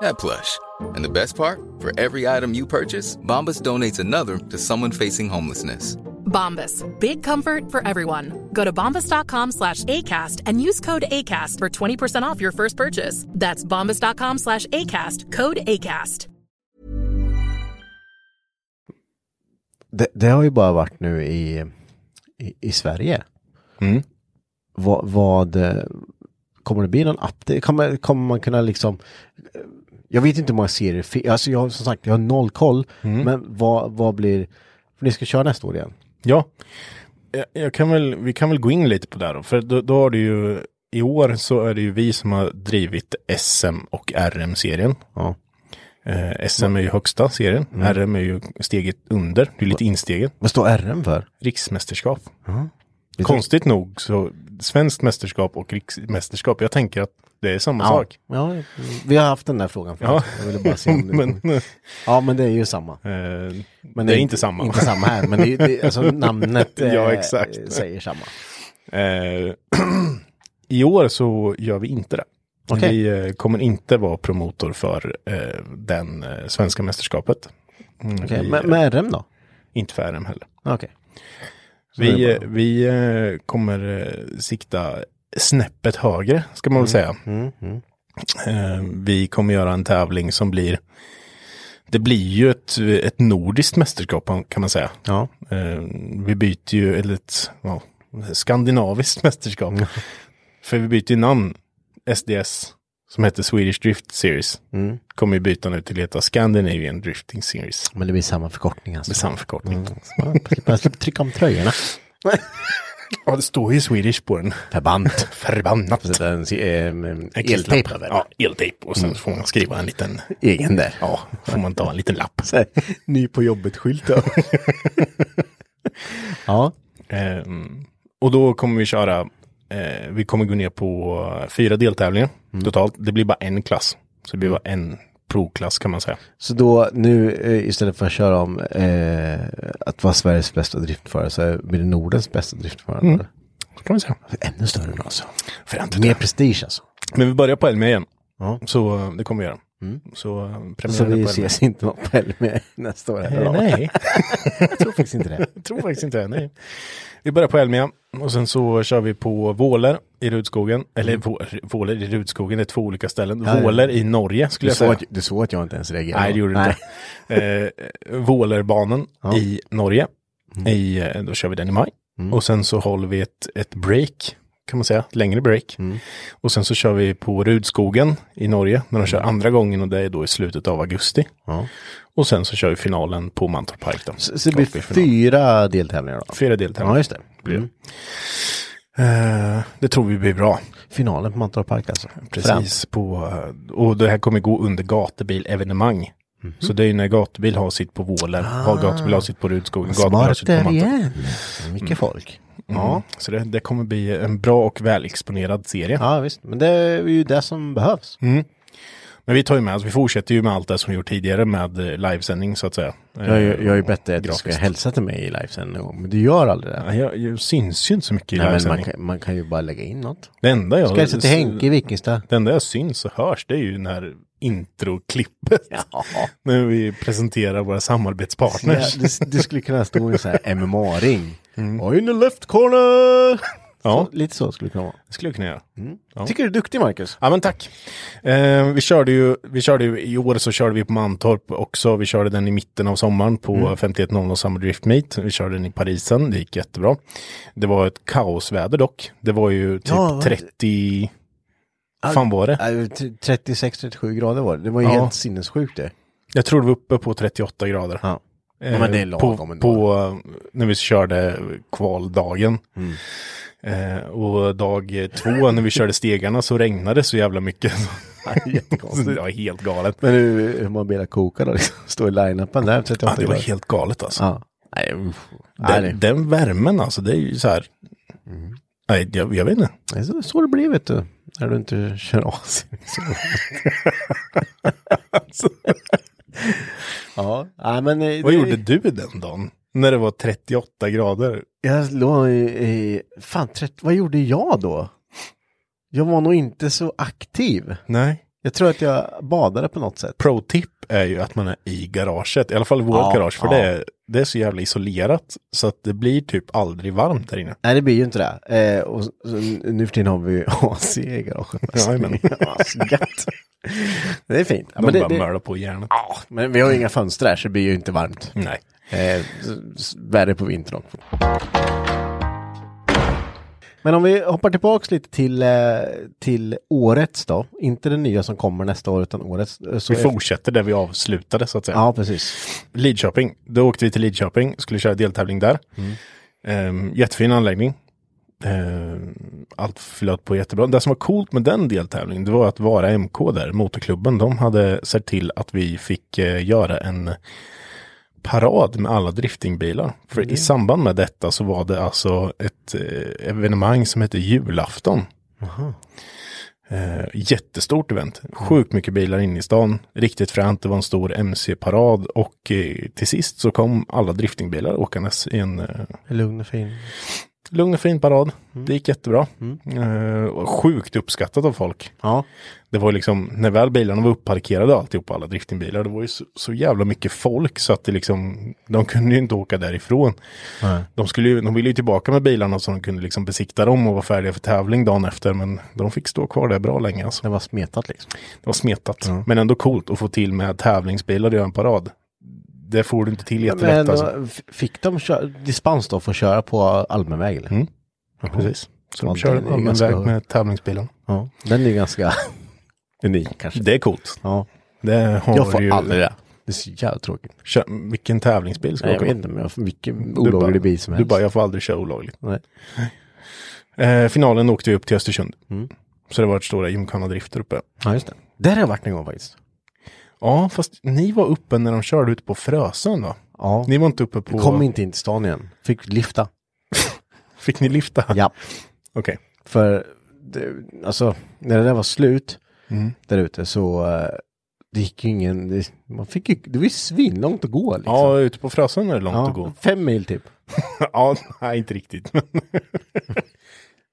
Speaker 5: that plush. And the best part? For every item you purchase, Bombas donates another to someone facing homelessness.
Speaker 6: Bombas. Big comfort for everyone. Go to bombas.com slash ACAST and use code ACAST for 20% off your first purchase. That's bombas.com slash ACAST. Code ACAST.
Speaker 2: det, det har ju bara varit nu i, i, i Sverige.
Speaker 3: Mm.
Speaker 2: Vad, vad eh, kommer det bli någon app? Det, kommer, kommer man kunna liksom eh, jag vet inte hur många serier, fi- alltså jag har som sagt, jag har noll koll,
Speaker 3: Mm.
Speaker 2: men vad, vad blir, för ni ska köra nästa år igen?
Speaker 3: Ja, jag, jag kan väl, vi kan väl gå in lite på det här då, för då, då har det ju i år så är det ju vi som har drivit SM och RM-serien.
Speaker 2: Ja. Mm.
Speaker 3: Eh, SM är ju högsta serien, RM är ju steget under, det är lite insteget.
Speaker 2: Vad står RM för?
Speaker 3: Riksmästerskap. Konstigt nog så svenskt mästerskap och riksmästerskap, jag tänker att det är samma
Speaker 2: Ja.
Speaker 3: sak.
Speaker 2: ja, vi har haft den där frågan förut.
Speaker 3: Ja.
Speaker 2: Jag ville bara se om det...
Speaker 3: men, eh,
Speaker 2: Ja, men det är ju samma. Men
Speaker 3: det är inte samma.
Speaker 2: Inte samma här, men det, är- det, är- alltså, namnet eh,
Speaker 3: Ja, exakt.
Speaker 2: säger samma.
Speaker 3: Eh, I år så gör vi inte det.
Speaker 2: Okej.
Speaker 3: Vi eh, kommer inte vara promotor för eh, den eh, svenska mästerskapet. Mm,
Speaker 2: Okej,
Speaker 3: vi,
Speaker 2: men, men RM då?
Speaker 3: Inte för RM heller.
Speaker 2: Okej.
Speaker 3: Vi,
Speaker 2: det är
Speaker 3: eh, vi eh, kommer eh, sikta snäppet högre, ska
Speaker 2: Mm.
Speaker 3: man väl säga. Eh, vi kommer göra en tävling som blir, det blir ju ett, ett nordiskt mästerskap kan man säga.
Speaker 2: Ja.
Speaker 3: Eh, vi byter ju, eller ett ja, skandinaviskt mästerskap.
Speaker 2: Mm.
Speaker 3: För vi byter ju namn, SDS, som heter Swedish Drift Series.
Speaker 2: Mm.
Speaker 3: Kommer ju byta nu till att heta Scandinavian Drifting Series.
Speaker 2: Men det blir samma förkortning alltså.
Speaker 3: Med samförkortning.
Speaker 2: Ja, Jag slipper trycka om tröjorna.
Speaker 3: Ja, det står ju Swedish på den.
Speaker 2: Förbant.
Speaker 3: Förbannat.
Speaker 2: Sätta en eh,
Speaker 3: En Mm.
Speaker 2: eltejp
Speaker 3: klistlapp.
Speaker 2: över.
Speaker 3: Ja, eltejp. Och sen får man skriva en liten,
Speaker 2: Egen där.
Speaker 3: ja, får man ta en liten lapp.
Speaker 2: Så här, Ny på jobbet-skylt. ja. ja.
Speaker 3: Ehm, och då kommer vi köra, eh, vi kommer gå ner på fyra deltävlingar totalt. Det blir bara en klass. Så det blir bara en provklass kan man säga.
Speaker 2: Så då nu eh, istället för att köra om eh, att vara Sveriges bästa driftförare så blir det Nordens bästa driftförare. eller?
Speaker 3: Så kan man säga.
Speaker 2: Ännu större nu alltså.
Speaker 3: Fränt.
Speaker 2: Mer prestige alltså.
Speaker 3: Men vi börjar på Elmia igen.
Speaker 2: Ja.
Speaker 3: Så eh, det kommer vi göra. Så eh, premiären
Speaker 2: Så
Speaker 3: är på
Speaker 2: vi
Speaker 3: Elmia.
Speaker 2: ses inte något på med nästa år heller.
Speaker 3: Eh,
Speaker 2: va?
Speaker 3: nej,
Speaker 2: jag tror faktiskt inte det.
Speaker 3: jag tror faktiskt inte det. Nej. Vi börjar på Elmia och sen så kör vi på Våler i Rudskogen. Eller Vå- Våler i Rudskogen, det är två olika ställen.
Speaker 2: Mm. Ja, ja.
Speaker 3: Våler i Norge skulle
Speaker 2: Du
Speaker 3: jag
Speaker 2: såg,
Speaker 3: säga.
Speaker 2: att, du såg att jag inte ens reagerade.
Speaker 3: Nej, det gjorde det inte. Eh, Vålerbanan
Speaker 2: Ja. Mm.
Speaker 3: i Norge. I, eh, då kör vi den i maj. Och sen så håller vi ett, ett break, kan man säga, ett längre break.
Speaker 2: Mm.
Speaker 3: Och sen så kör vi på Rudskogen i Norge, när
Speaker 2: Mm.
Speaker 3: de kör andra gången och det är då i slutet av augusti.
Speaker 2: Ja.
Speaker 3: Och sen så kör vi finalen på Mantorp Park då.
Speaker 2: Så, så det blir
Speaker 3: Kvartsfinal.
Speaker 2: fyra deltävlingar Mm. då?
Speaker 3: Fyra deltävlingar.
Speaker 2: Ja, just det.
Speaker 3: Blir det. Eh, det tror vi blir bra.
Speaker 2: Finalen på Mantorp Park alltså.
Speaker 3: Precis, på, och det här kommer gå under gatubilevenemang.
Speaker 2: Mhm.
Speaker 3: Så det är ju när gatubil har sitt på Våler, har gatubil har sitt på Rudskogen, gatubil har sitt på
Speaker 2: Smart
Speaker 3: Mantorp.
Speaker 2: Ah. igen.
Speaker 3: Mm.
Speaker 2: Mycket folk.
Speaker 3: Ja, så det, det kommer bli en bra och välexponerad serie.
Speaker 2: Ja, visst. Men det är ju det som behövs.
Speaker 3: Mm. Men vi tar ju med oss, vi fortsätter ju med allt det som vi gjort tidigare med eh, livesändning så att säga. Eh,
Speaker 2: Jag har ju- jag har ju bett dig att du
Speaker 3: grafiskt.
Speaker 2: ska hälsa till mig i livesen någon gång, men du gör aldrig det.
Speaker 3: Ja, jag, jag syns ju inte så mycket i
Speaker 2: Nej, men man,
Speaker 3: livesändning.
Speaker 2: kan, man kan ju bara lägga in något.
Speaker 3: Det enda jag...
Speaker 2: Ska hälsa till Henke i Vikingstad.
Speaker 3: Det enda jag syns och hörs det är ju när introklippet.
Speaker 2: Ja.
Speaker 3: När vi presenterar våra samarbetspartners.
Speaker 2: Det, det skulle kunna stå en sån här MMA-ring. Och in the left corner!
Speaker 3: Mm. Ja.
Speaker 2: Så, lite så skulle det kunna vara.
Speaker 3: Det skulle jag kunna göra. Ja.
Speaker 2: Tycker du är duktig, Marcus?
Speaker 3: Ja men tack. Eh, vi, körde ju, vi körde ju, i år så körde vi på Mantorp också. Vi körde den i mitten av sommaren på
Speaker 2: Mm.
Speaker 3: 5100 Summer Drift Meet. Vi körde den i Parisen, det gick jättebra. Det var ett kaosväder dock. Det var ju typ
Speaker 2: Ja, vad-
Speaker 3: 30, fan var det?
Speaker 2: Nej, t- 36-37 grader var det. Det var ju
Speaker 3: Ja.
Speaker 2: helt sinnessjukt det.
Speaker 3: Jag tror det var uppe på 38 grader.
Speaker 2: Ja.
Speaker 3: Eh,
Speaker 2: Ja, men det är lagom
Speaker 3: på,
Speaker 2: ändå.
Speaker 3: på eh, när vi körde kvaldagen.
Speaker 2: Mm.
Speaker 3: Eh, och dag två när vi körde stegarna så regnade det så jävla mycket. Så det
Speaker 2: Jättekonstigt.
Speaker 3: var helt galet.
Speaker 2: Men hur, hur man bilar kokar då? Liksom, står i line-upen där 38
Speaker 3: Ja, det var
Speaker 2: grader.
Speaker 3: helt galet alltså.
Speaker 2: Ja. Nej, uff. Nej, det-
Speaker 3: Den, den värmen alltså, det är ju så här.
Speaker 2: Mm.
Speaker 3: Nej, jag, jag vet inte.
Speaker 2: Det är så, så det blir vet du. När du inte kör AC. ja, nej, men. eh,
Speaker 3: Vad
Speaker 2: det-
Speaker 3: gjorde du den dagen? När det var 38 grader?
Speaker 2: Jag låg i, i fan, trett, vad gjorde jag då? Jag var nog inte så aktiv.
Speaker 3: Nej.
Speaker 2: Jag tror att jag badade på något sätt.
Speaker 3: Pro-tip är ju att man är i garaget, i alla fall i vårt
Speaker 2: Ja,
Speaker 3: garage, för
Speaker 2: ja.
Speaker 3: det, är, det är så jävla isolerat så att det blir typ aldrig varmt där inne.
Speaker 2: Nej, det blir ju inte det. Eh, och så, så, nu för tiden har vi ju AC i garaget.
Speaker 3: Jajamän.
Speaker 2: Ja, så gött. Det är fint. Ja,
Speaker 3: De
Speaker 2: men, det,
Speaker 3: bara
Speaker 2: det,
Speaker 3: mölar på järnet.
Speaker 2: ja, men vi har ju inga fönster här så det blir ju inte varmt.
Speaker 3: Nej.
Speaker 2: Eh, s- s- värre på vintern också. Men om vi hoppar tillbaks lite till, eh, till årets då, inte den nya som kommer nästa år utan årets. eh, Så
Speaker 3: Vi fortsätter där vi avslutade så att säga.
Speaker 2: Ja, precis.
Speaker 3: Lidköping, då åkte vi till Lidköping, skulle köra deltävling där. Ehm, jättefin anläggning. Ehm, allt flöt på jättebra. Det som var coolt med den deltävlingen, det var att Vara MK där, motorklubben, de hade sett till att vi fick eh, göra en parad med alla driftingbilar. För i samband med detta så var det alltså ett eh, evenemang som hette julafton. Eh, jättestort event. Sjukt mycket bilar inne i stan. Riktigt fränt. Det var en stor MC-parad och eh, till sist så kom alla driftingbilar åkandes i en eh,
Speaker 2: Lugn och fin.
Speaker 3: lugn och fin parad. Det gick jättebra. Eh, och sjukt uppskattat av folk.
Speaker 2: Ja.
Speaker 3: Det var ju liksom, när väl bilarna var uppparkerade och alltihop, alla driftingbilar, det var ju så, så jävla mycket folk så att det liksom, de kunde ju inte åka därifrån. De, skulle ju, de ville ju tillbaka med bilarna så de kunde liksom besikta dem och vara färdiga för tävling dagen efter, men de fick stå kvar där bra länge alltså.
Speaker 2: Det var smetat liksom.
Speaker 3: Det var smetat, men ändå coolt att få till med tävlingsbilar och göra en parad. Det får du inte till jättelätt
Speaker 2: Men
Speaker 3: alltså.
Speaker 2: då, f- fick de kö- dispens då för att köra på allmän väg? Eller?
Speaker 3: Mm. Precis.
Speaker 2: Ja,
Speaker 3: Så de kör
Speaker 2: det är
Speaker 3: en allmän
Speaker 2: ganska-
Speaker 3: väg med tävlingsbilarna.
Speaker 2: Ja. Den är ju ganska unik kanske.
Speaker 3: Det är coolt.
Speaker 2: Ja.
Speaker 3: Det har
Speaker 2: Jag får
Speaker 3: ju...
Speaker 2: aldrig det. Det är så jävla tråkigt.
Speaker 3: Kö- Vilken tävlingsbil ska
Speaker 2: Nej,
Speaker 3: du
Speaker 2: jag
Speaker 3: åka
Speaker 2: vet
Speaker 3: med?
Speaker 2: inte, men jag får mycket
Speaker 3: Du bara-
Speaker 2: olaglig bil som
Speaker 3: Du
Speaker 2: helst.
Speaker 3: bara, jag får aldrig köra olagligt.
Speaker 2: Nej.
Speaker 3: Eh, finalen åkte vi upp till Östersund.
Speaker 2: Mm.
Speaker 3: Så det var ett stora gymkannadrifter uppe.
Speaker 2: Ja, just det. Där har jag varit en gång faktiskt.
Speaker 3: Ja, fast ni var uppe när de körde ut på Frösön va?
Speaker 2: Ja.
Speaker 3: Ni var inte uppe på...
Speaker 2: Kom inte in till stan igen. Fick lifta.
Speaker 3: Fick ni lifta?
Speaker 2: Ja.
Speaker 3: Okej.
Speaker 2: För, det, alltså, när det där var slut
Speaker 3: Mm.
Speaker 2: där ute så eh, det gick ju ingen, det, man fick ju, det var ju svinlångt att gå liksom.
Speaker 3: Ja, ute på Frösön är det långt
Speaker 2: Ja,
Speaker 3: att gå.
Speaker 2: Fem mil typ.
Speaker 3: ja, nej inte riktigt.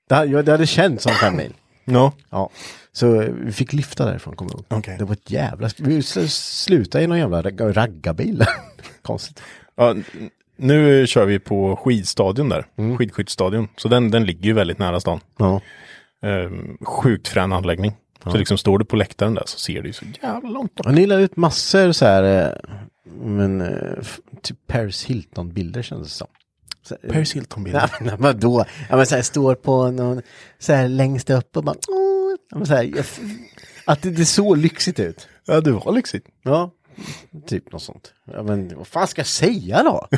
Speaker 2: Det, hade- ja, det hade känts som fem mil.
Speaker 3: ja.
Speaker 2: Ja, så eh, vi fick lyfta därifrån kommer jag ihåg.
Speaker 3: Okej.
Speaker 2: Det var ett jävla, vi sl- slutade i någon jävla ragga- raggarbil. Konstigt.
Speaker 3: Ja, n- nu kör vi på skidstadion där. Skidskyttstadion. Så den, den ligger ju väldigt nära stan.
Speaker 2: Ja.
Speaker 3: Ehm, sjukt frän anläggning. Så liksom står du på läktaren där så ser du ju så jävla långt bort.
Speaker 2: Han la ut massor så här, eh, men eh, f- typ Paris Hilton-bilder kändes det som. Så, eh,
Speaker 3: Paris Hilton-bilder.
Speaker 2: Nej, men vadå? Ja, men så här, står på någon, så här längst upp och bara, åh. Ja, men så här, jag f- att det, det såg lyxigt ut.
Speaker 3: Ja, det var liksom- lyxigt.
Speaker 2: Ja, typ något sånt. Ja, men vad fan ska jag säga då?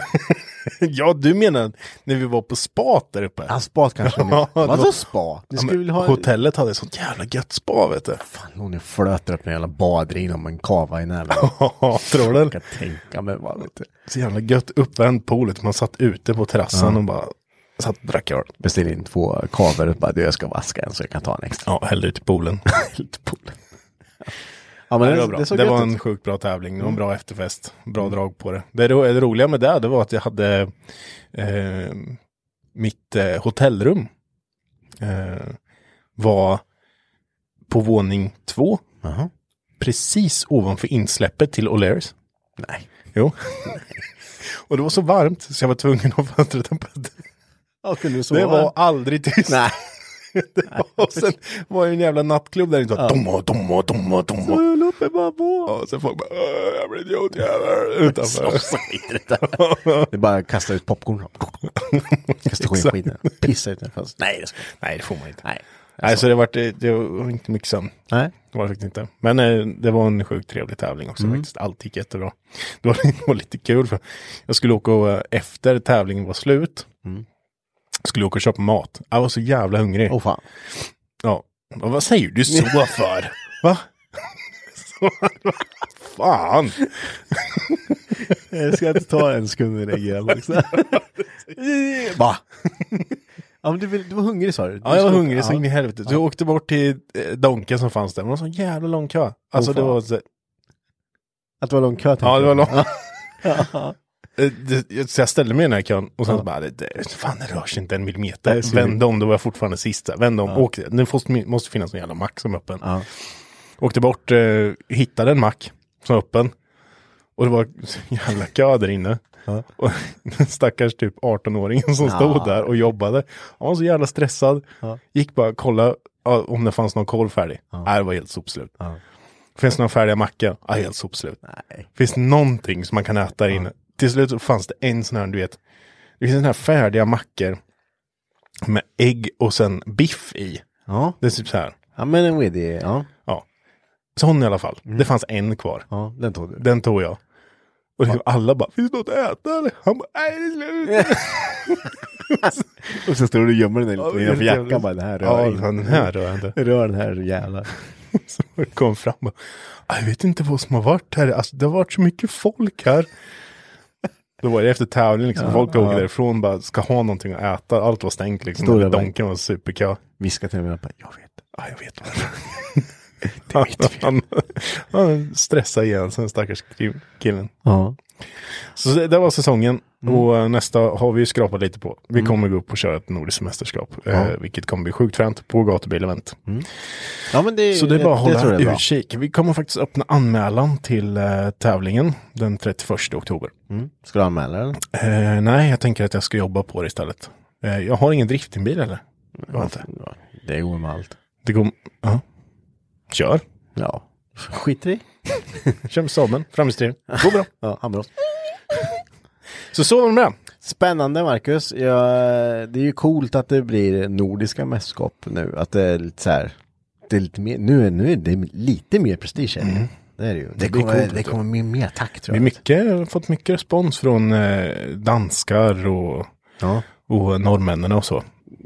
Speaker 3: Ja, du menar när vi var på spat där uppe.
Speaker 2: Ja, spa kanske.
Speaker 3: Ja, det var-
Speaker 2: Vadå spa? Ni
Speaker 3: Ja,
Speaker 2: skulle
Speaker 3: men
Speaker 2: väl ha...
Speaker 3: Hotellet hade ett sånt jävla gött spa, vet du.
Speaker 2: Fan, hon är flöter upp en jävla badring om en kava i näven.
Speaker 3: Ja, tror du?
Speaker 2: Jag kan tänka mig vad vet du.
Speaker 3: Så jävla gött uppvärmd pool. vet du. Man satt ute på terrassen och bara satt och drack öl.
Speaker 2: Beställ in två kaver och bara du jag ska vaska en så jag kan ta en extra.
Speaker 3: Ja, hällde ut i poolen.
Speaker 2: Ja
Speaker 3: Ja,
Speaker 2: men
Speaker 3: det var, bra.
Speaker 2: det såg Mm.
Speaker 3: det
Speaker 2: gött
Speaker 3: var
Speaker 2: ut.
Speaker 3: en sjukt bra tävling. Det var en bra efterfest. Bra drag på det. Det, ro det roliga med det, det var att jag hade eh, mitt eh, hotellrum eh, var på våning två.
Speaker 2: Jaha.
Speaker 3: Precis ovanför insläppet till O'Learys. Nej. Jo. Och det var så varmt så jag var tvungen att ha fönstret öppet.
Speaker 2: Ja, kunde du sova?
Speaker 3: Det var aldrig tyst.
Speaker 2: Nej.
Speaker 3: Och sen var det en jävla nattklubb där inne. Ja. Domma, domma, domma, domma.
Speaker 2: Låt mig bara vara.
Speaker 3: Ja, sen folk bara, "Åh, jag blir idiot jävlar, utanför.
Speaker 2: Det är bara att kasta ut popcorn. Kasta skenskidor. Pissa ut den fönstret. Nej det ska jag inte.
Speaker 3: Nej, det får man inte.
Speaker 2: Nej.
Speaker 3: Nej, så det var, det, det var inte mycket sömn.
Speaker 2: Nej.
Speaker 3: Det var det faktiskt inte. Men eh, det var en sjukt trevlig tävling också
Speaker 2: Mm.
Speaker 3: faktiskt. Allt gick jättebra. Det var, det var lite kul för jag skulle åka och, eh, efter tävlingen var slut.
Speaker 2: Mm.
Speaker 3: Skulle åka och köpa mat. Jag var så jävla hungrig.
Speaker 2: Åh fan.
Speaker 3: Ja. Och vad säger du så för? Va? Så- Fan!
Speaker 2: Jag ska inte ta en sekund och reagera
Speaker 3: liksom.
Speaker 2: också. Va? Ja men du, vill- du var hungrig sa du.
Speaker 3: Ja, jag var
Speaker 2: Du-
Speaker 3: hungrig så in i helvete. Så jag åkte bort till eh, Donken som fanns där. Men det var en sån jävla lång kö. Alltså
Speaker 2: Åh,
Speaker 3: det
Speaker 2: fan.
Speaker 3: var så...
Speaker 2: Att det var lång kö tänkte
Speaker 3: Ja, det var
Speaker 2: jag.
Speaker 3: långt. Eh, det- jag- Så jag ställde mig i den här kön och sen så bara, det, det, fan det rör sig inte en millimeter.
Speaker 2: Nej, så-
Speaker 3: Vände om, då var jag fortfarande sista. Vände om, åkte. Nu måste, måste finnas en jävla mack som är öppen.
Speaker 2: Ja.
Speaker 3: Åkte bort, eh, hittade en mack som var öppen. Och det var så jävla kö där inne. Och den stackars typ 18-åringen som stod där och jobbade. Han var så jävla stressad. Gick bara och kollade ja, om det fanns någon korv färdig. Nej, det var helt sopslut. Finns det några färdiga mackor? Ja, helt sopslut.
Speaker 2: Nej.
Speaker 3: Finns det någonting som man kan äta där inne? Till slut så fanns det en sån här, du vet, det finns såna här färdiga mackor med ägg och sen biff i.
Speaker 2: Ja.
Speaker 3: Det är typ så här.
Speaker 2: Ja men en widdy, ja.
Speaker 3: Sån i alla fall. Det fanns en kvar.
Speaker 2: ja. Den tog du.
Speaker 3: Den tog jag. Och liksom alla bara, finns det något att äta eller? Han bara, nej det är slut.
Speaker 2: Och så står du och gömmer den där lite innanför jackan bara. Den här rör
Speaker 3: Ja,
Speaker 2: inte.
Speaker 3: den här rör jag inte.
Speaker 2: Rör den här jävlar.
Speaker 3: Så kom fram och, jag vet inte vad som har varit här. Alltså, det har varit så mycket folk här. Då var det efter tävling liksom. Folk åker därifrån bara ska ha någonting att äta. Allt var stängt liksom.
Speaker 2: Stora
Speaker 3: Donken var superkö.
Speaker 2: Viska till mig, jag, bara, jag vet.
Speaker 3: Ja, jag vet. det är mitt fel. Han, han stressade igen sen stackars ki- killen.
Speaker 2: Ja.
Speaker 3: Så det, det var säsongen. Och eh, nästa har vi ju skrapat lite på. Vi kommer gå upp och köra ett nordiskt mästerskap. Eh, vilket kommer bli sjukt fränt på gatubil-event.
Speaker 2: ja, men det,
Speaker 3: Så det är bara att
Speaker 2: det tror
Speaker 3: hålla
Speaker 2: jag är bra.
Speaker 3: utkik. Vi kommer faktiskt öppna anmälan till eh, tävlingen den 31 oktober.
Speaker 2: Ska du anmäla den?
Speaker 3: Eh, nej, jag tänker att jag ska jobba på det istället. Eh, jag har ingen driftingbil eller? Jag har inte.
Speaker 2: Ja, Det går med allt.
Speaker 3: Det går... Ja. Kör.
Speaker 2: Ja. Skit i.
Speaker 3: Kör med sabeln. Framhjulsdriven. Går bra.
Speaker 2: Ja, handbrott.
Speaker 3: Så så var det med det.
Speaker 2: Spännande Marcus. Ja, det är ju coolt att det blir nordiska mästerskap nu. Att det är lite så här. Det är lite mer, nu, är, nu är det lite mer prestige. Mm. Det är det ju. Det,
Speaker 3: blir
Speaker 2: kommer,
Speaker 3: coolt,
Speaker 2: det
Speaker 3: vet du.
Speaker 2: kommer bli mer tack tror
Speaker 3: Vi
Speaker 2: jag.
Speaker 3: har mycket, fått mycket respons från eh, danskar och,
Speaker 2: Ja.
Speaker 3: och norrmännen och så.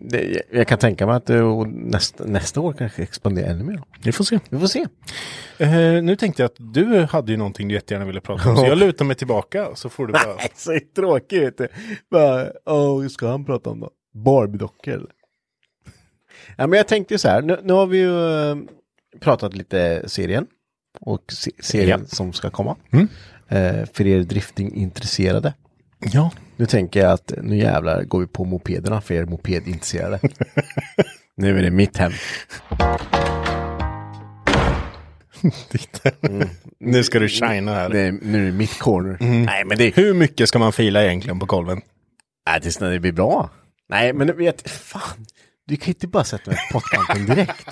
Speaker 2: Det, jag kan tänka mig att det, och nästa, nästa år kanske expanderar ännu mer.
Speaker 3: Vi får se.
Speaker 2: Vi får se.
Speaker 3: Eh, nu tänkte jag att du hade ju någonting du jättegärna ville prata om. Så jag lutar mig tillbaka så får du bara...
Speaker 2: Nej, så tråkigt vet du. Bara, åh, ska han prata om då? Barbie-dockor eller? Ja, men jag tänkte ju så här, nu, nu har vi ju eh, pratat lite serien och se, serien som ska komma. Eh, för er driftingintresserade.
Speaker 3: Ja.
Speaker 2: Nu tänker jag att nu jävlar går vi på mopederna för er mopedintresserade. nu är det mitt hem.
Speaker 3: nu ska du shina här.
Speaker 2: Det är, nu är det mitt corner. Nej, men det,
Speaker 3: Hur mycket ska man fila egentligen på golven? Äh,
Speaker 2: Nej, tills när det blir bra. Nej, men du vet, fan. Du kan ju inte bara sätta mig på pottkanten direkt.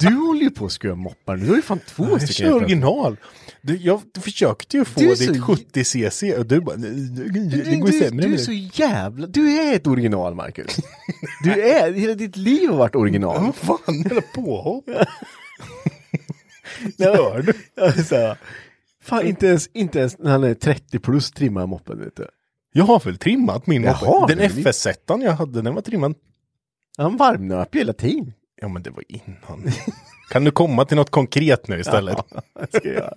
Speaker 2: Du håller ju på att skruva moppar nu. Du har ju fan två
Speaker 3: Jag
Speaker 2: stycken.
Speaker 3: kör original. Du, jag försökte ju få
Speaker 2: Du är
Speaker 3: ditt
Speaker 2: så-
Speaker 3: 70 cc och du bara, "Nej, nej, nej,
Speaker 2: Du,
Speaker 3: det går ju
Speaker 2: du,
Speaker 3: sämre
Speaker 2: du är
Speaker 3: med
Speaker 2: så
Speaker 3: det.
Speaker 2: jävla... Du är ett original, Marcus. Du är... Hela ditt liv har varit original.
Speaker 3: Vad fan, jävla påhopp.
Speaker 2: Gör du? Alltså, fan, inte ens, inte ens när han är 30 plus trimmar han moppen, vet du.
Speaker 3: Jag har väl trimmat min
Speaker 2: Jaha,
Speaker 3: moppe. Den
Speaker 2: men det-
Speaker 3: fs 1 jag hade, den var trimmad.
Speaker 2: Han varmnöp ju hela tiden.
Speaker 3: Ja, men det var innan. kan du komma till något konkret nu istället?
Speaker 2: Det ska jag göra.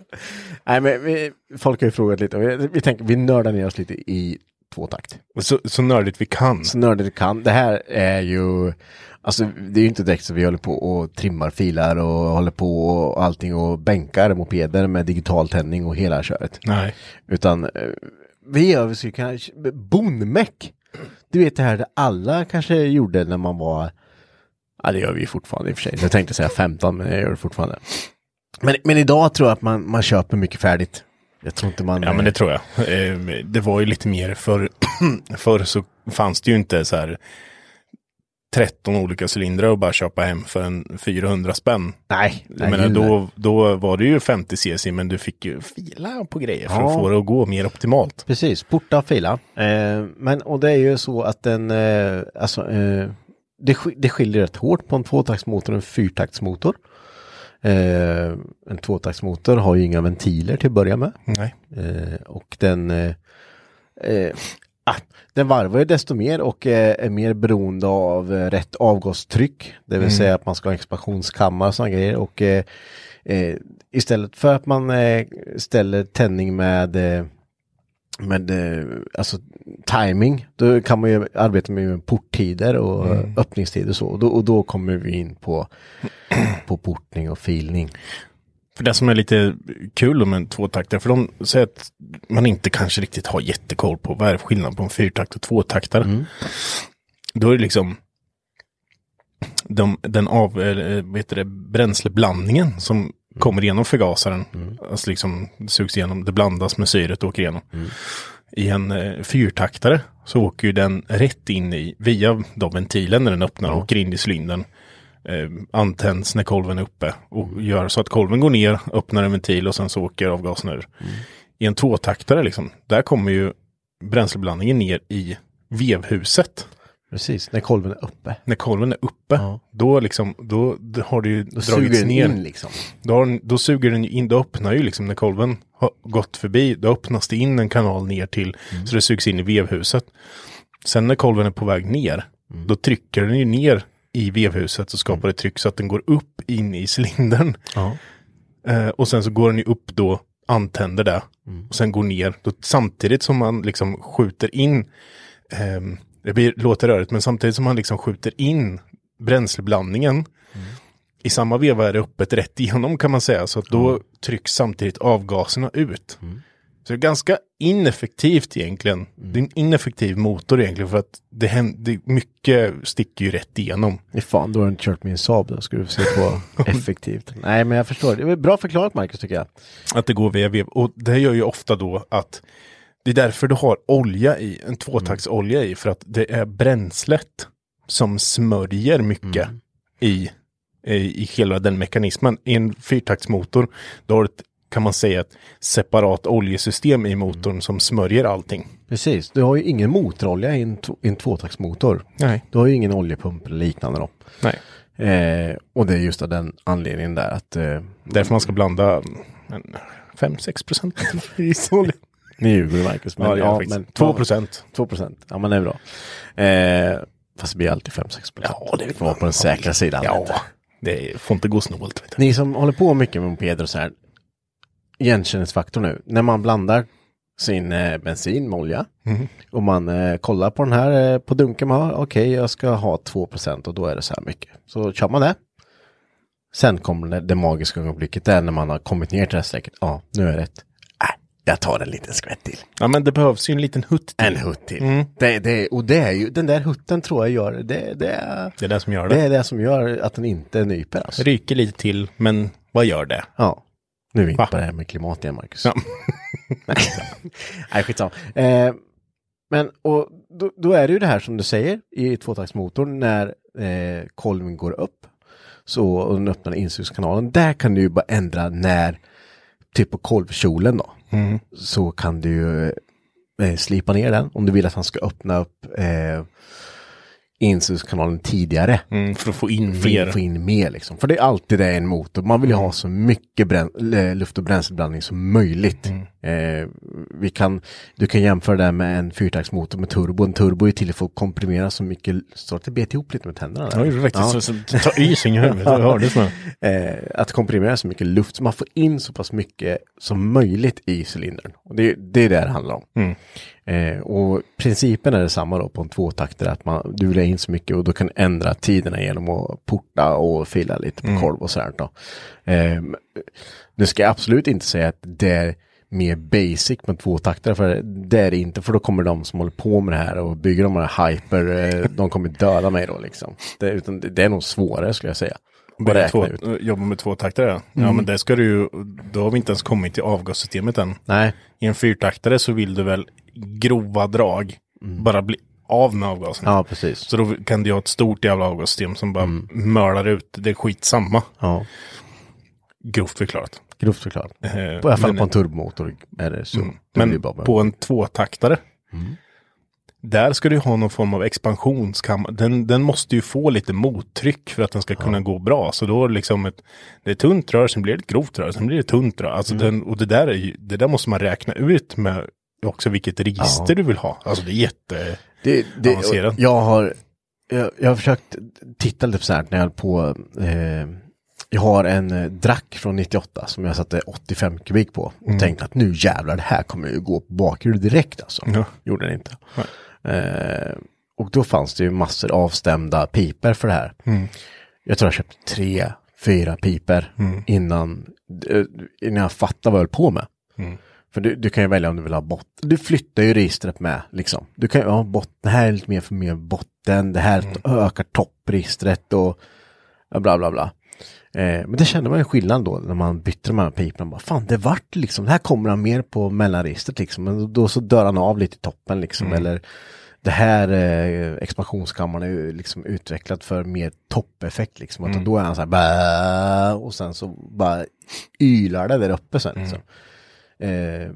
Speaker 2: Nej, men vi, folk har ju frågat lite. och Vi, vi tänker, vi nördar ner oss lite i tvåtakt.
Speaker 3: Så, så nördigt vi kan.
Speaker 2: så nördigt kan. Det här är ju, alltså det är ju inte direkt så vi håller på och trimmar filar och håller på och allting och bänkar mopeder med digital tändning och hela köret.
Speaker 3: Nej.
Speaker 2: Utan eh, vi gör väl så kanske bonmäck. Du vet det här det alla kanske gjorde när man var, ja det gör vi ju fortfarande i och för sig. Jag tänkte säga 15 men jag gör det fortfarande. Men, men idag tror jag att man, man köper mycket färdigt. Jag tror inte man...
Speaker 3: Ja, men det tror jag. Eh, Det var ju lite mer förr. förr så fanns det ju inte så här 13 olika cylindrar och bara köpa hem för en 400 spänn.
Speaker 2: Nej,
Speaker 3: Jag menar, då, då var det ju 50 cc, men du fick ju fila på grejer för att
Speaker 2: Ja.
Speaker 3: få det att gå mer optimalt.
Speaker 2: Precis, porta och fila. Eh, men och det är ju så att den, eh, alltså, eh, det, sk- det skiljer rätt hårt på en tvåtaktsmotor och en fyrtaktsmotor. Eh, en tvåtaktsmotor har ju inga ventiler till att börja med.
Speaker 3: Nej.
Speaker 2: Eh, och den, eh, eh, ah, den varvar ju desto mer och eh, är mer beroende av eh, rätt avgastryck. Det
Speaker 3: Mm.
Speaker 2: vill säga att man ska ha expansionskammare och sådana grejer. Och eh, eh, istället för att man eh, ställer tändning med eh, med eh, alltså timing, då kan man ju arbeta med porttider och
Speaker 3: Mm.
Speaker 2: eh, öppningstider och så. Och då, och då kommer vi in på, på portning och filning.
Speaker 3: För det som är lite kul om en tvåtaktare, för de säger att man inte kanske riktigt har jättekoll på vad är skillnaden på en fyrtakt och tvåtaktare. Då är det liksom de, den av, eller, vad heter det, bränsleblandningen som kommer igenom förgasaren. Alltså liksom det sugs igenom, det blandas med syret och åker igenom. I en eh, fyrtaktare så åker ju den rätt in i, via de ventilen när den öppnar, åker in i cylindern eh, antänds när kolven är uppe
Speaker 2: Mm.
Speaker 3: och gör så att kolven går ner, öppnar en ventil och sen så åker avgasen ur.
Speaker 2: Mm.
Speaker 3: I en tvåtaktare liksom, där kommer ju bränsleblandningen ner i vevhuset.
Speaker 2: Precis, när kolven är uppe.
Speaker 3: När kolven är uppe, då liksom, då, då har det ju dragits
Speaker 2: den
Speaker 3: ner.
Speaker 2: in liksom.
Speaker 3: Då, har den, då suger den ju in, då öppnar ju liksom när kolven har gått förbi, då öppnas det in en kanal ner till, så det sugs in i vevhuset. Sen när kolven är på väg ner, då trycker den ju ner i vevhuset och skapar ett tryck så att den går upp in i cylindern. Eh, och sen så går den ju upp då antänder det och sen går ner. Då, samtidigt som man liksom skjuter in, ehm, det blir, låter rörigt, men samtidigt som man liksom skjuter in bränsleblandningen i samma veva är det öppet rätt igenom kan man säga, så att då trycks samtidigt avgaserna ut. Så det är ganska ineffektivt egentligen. Det är en ineffektiv motor egentligen för att det händer, mycket sticker ju rätt igenom.
Speaker 2: Nej, fan, då har du inte kört min Saab då. Ska du se på effektivt. Nej, men jag förstår. Det är bra förklarat Marcus tycker jag.
Speaker 3: Att det går via vev. Och det gör ju ofta då att det är därför du har olja i, en tvåtaktsolja i, för att det är bränslet som smörjer mycket i, i, i hela den mekanismen. I en fyrtaktsmotor, då har du ett, kan man säga ett separat oljesystem i motorn som smörjer allting.
Speaker 2: Precis, du har ju ingen motorolja i en, t- i en tvåtaktsmotor.
Speaker 3: Nej.
Speaker 2: Du har ju ingen oljepump eller liknande då.
Speaker 3: Nej.
Speaker 2: Eh, och det är just av den anledningen där att eh,
Speaker 3: Därför man ska blanda 5-6 procent risolja.
Speaker 2: ni ljuger Marcus. Men,
Speaker 3: Ja, det är faktiskt. 2 procent.
Speaker 2: 2 procent, ja men det är bra. Eh, fast det blir alltid 5-6 procent. Ja, det får vara på den säkra sidan. vet
Speaker 3: Ja,
Speaker 2: du.
Speaker 3: det är- får inte gå snålt. Vet du.
Speaker 2: Ni som håller på mycket med mopeder och så här. Igenkänningsfaktor nu. När man blandar sin eh, bensin med olja. Och man eh, kollar på den här eh, på dunken man har. Okej, jag ska ha 2 och då är det så här mycket. Så kör man det. Sen kommer det, det magiska ögonblicket där när man har kommit ner till det här strecket. Ja, nu är det ett. Äh, jag tar en liten skvätt till.
Speaker 3: Ja, men det behövs ju en liten hutt.
Speaker 2: En hutt till. Det, det, och det är ju, den där hutten tror jag gör, det, det, är,
Speaker 3: Det är det som gör det.
Speaker 2: det är det som gör att den inte nyper alltså.
Speaker 3: Ryker lite till, men vad gör det?
Speaker 2: Ja. Nu är vi
Speaker 3: Va?
Speaker 2: inte på det här med klimat igen, Marcus.
Speaker 3: Ja.
Speaker 2: Nej, skitsamma. Eh, men och då, då är det ju det här som du säger i tvåtaktsmotorn när eh, kolven går upp så, och den öppnar insugskanalen. Där kan du ju bara ändra när, typ på kolvkjolen då,
Speaker 3: Mm.
Speaker 2: så kan du ju eh, slipa ner den om du vill att han ska öppna upp eh, insugskanalen tidigare
Speaker 3: Mm, för att få in
Speaker 2: få in,
Speaker 3: mer. Mm.
Speaker 2: få in mer liksom. För det är alltid det i en motor. Man vill ju ha så mycket brän- eh, luft och bränsleblandning som möjligt.
Speaker 3: Mm.
Speaker 2: Eh, vi kan, du kan jämföra det här med en fyrtaktsmotor med turbo. En turbo är till för att komprimera så mycket, så att det bet ihop lite med tänderna. där.
Speaker 3: Ja, det är faktiskt
Speaker 2: Ja.
Speaker 3: så, så, ta isen i huvudet. Jag hörde det
Speaker 2: Eh, att komprimera så mycket luft så man får in så pass mycket som möjligt i cylindern. Och det, det är det det handlar om.
Speaker 3: Mm.
Speaker 2: Eh, och principen är detsamma då på en tvåtaktare att man, du vill ha in så mycket och då kan ändra tiderna genom att porta och fila lite på
Speaker 3: Mm.
Speaker 2: kolv och sådär. Då. Eh, nu ska jag absolut inte säga att det är mer basic med tvåtaktare för det är det inte för då kommer de som håller på med det här och bygger de här hyper, eh, de kommer döda mig då liksom. Det, utan det, det är nog svårare skulle jag säga. att
Speaker 3: Börja
Speaker 2: räkna Mm.
Speaker 3: två, jobba med tvåtaktare. Ja, men det ska du ju, då har vi inte ens kommit till avgassystemet än.
Speaker 2: Nej,
Speaker 3: I en fyrtaktare så vill du väl grova drag, bara bli av med avgasen.
Speaker 2: Mm. ja precis. Mm.
Speaker 3: Så då kan du ha ett stort jävla avgassystem som bara mölar ut. Det är skitsamma,
Speaker 2: Ja,
Speaker 3: grovt förklarat.
Speaker 2: grovt förklarat.
Speaker 3: Eh,
Speaker 2: I alla fall
Speaker 3: men- Mm.
Speaker 2: på en turbomotor är det så. Det blir
Speaker 3: Men
Speaker 2: bara Mm. bra.
Speaker 3: på en tvåtaktare. Där ska du ju ha någon form av expansionskammare. Den, den måste ju få lite mottryck för att den ska kunna gå bra. Så då är det liksom ett, det är tunt rör, sen blir det ett grovt rör, sen blir det tunt rör. Alltså
Speaker 2: Mm.
Speaker 3: den, och det där, är ju, det där måste man räkna ut med också vilket register du vill ha. Alltså det är jätte...
Speaker 2: Det, det,
Speaker 3: avancerad.
Speaker 2: jag har jag, jag har försökt titta lite på så här när jag höll på. Eh, jag har en eh, drack från 98 som jag satte 85 kubik på och tänkte att nu jävlar det här kommer ju gå på bakhjul direkt alltså.
Speaker 3: Ja.
Speaker 2: Gjorde den inte. Eh, och då fanns det ju massor avstämda piper för det här. Jag tror jag köpte tre, fyra piper innan, eh, innan jag fattade vad jag höll på med. För du, du kan ju välja om du vill ha botten. Du flyttar ju registret med liksom. Du kan ju ha botten, det här är lite mer för mer botten, det här ökar toppregistret och ja, bla bla bla. Eh, men det kände man ju skillnad då när man bytte de här piporna. Bara, Fan, det vart liksom, det här kommer han mer på mellanregistret liksom. Men då, då så dör han av lite i toppen liksom. Eller det här eh, expansionskammaren är ju liksom utvecklad för mer toppeffekt liksom. Att Då är han så här "Bää", och sen så bara ylar det där uppe sen liksom. Eh,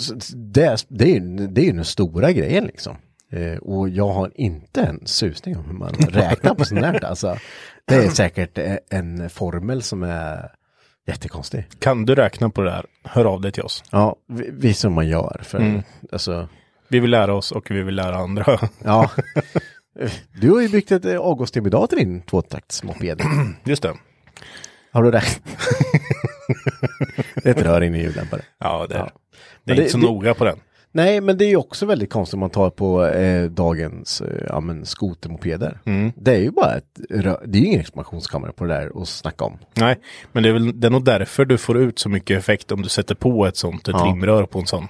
Speaker 2: så det, det, är, ju- det är ju den stora grejen liksom. Eh, och jag har inte en susning om hur man räknar på sånt där. Alltså, det är säkert eh, en formel som är jättekonstig.
Speaker 3: Kan du räkna på det här, hör av dig till oss.
Speaker 2: Ja, vi, vi som man gör. För, alltså,
Speaker 3: Vi vill lära oss och vi vill lära andra.
Speaker 2: ja. Du har ju byggt ett eh, avgasstim idag till din tvåtaktsmoped.
Speaker 3: Just det.
Speaker 2: Har du räknat? det är ett rör in i ljudlämpare.
Speaker 3: Ja, det är det. Det
Speaker 2: Men
Speaker 3: är
Speaker 2: det-
Speaker 3: inte så
Speaker 2: det-
Speaker 3: noga på den.
Speaker 2: Nej, men det är ju också väldigt konstigt om man tar på eh, dagens eh, ja, men skotermopeder.
Speaker 3: Mm.
Speaker 2: Det är ju bara ett rö- det är ju ingen expansionskamera på det där att snacka om.
Speaker 3: Nej, men det är, väl, det är nog därför du får ut så mycket effekt om du sätter på ett sånt, ett
Speaker 2: Ja.
Speaker 3: trimrör på en sån.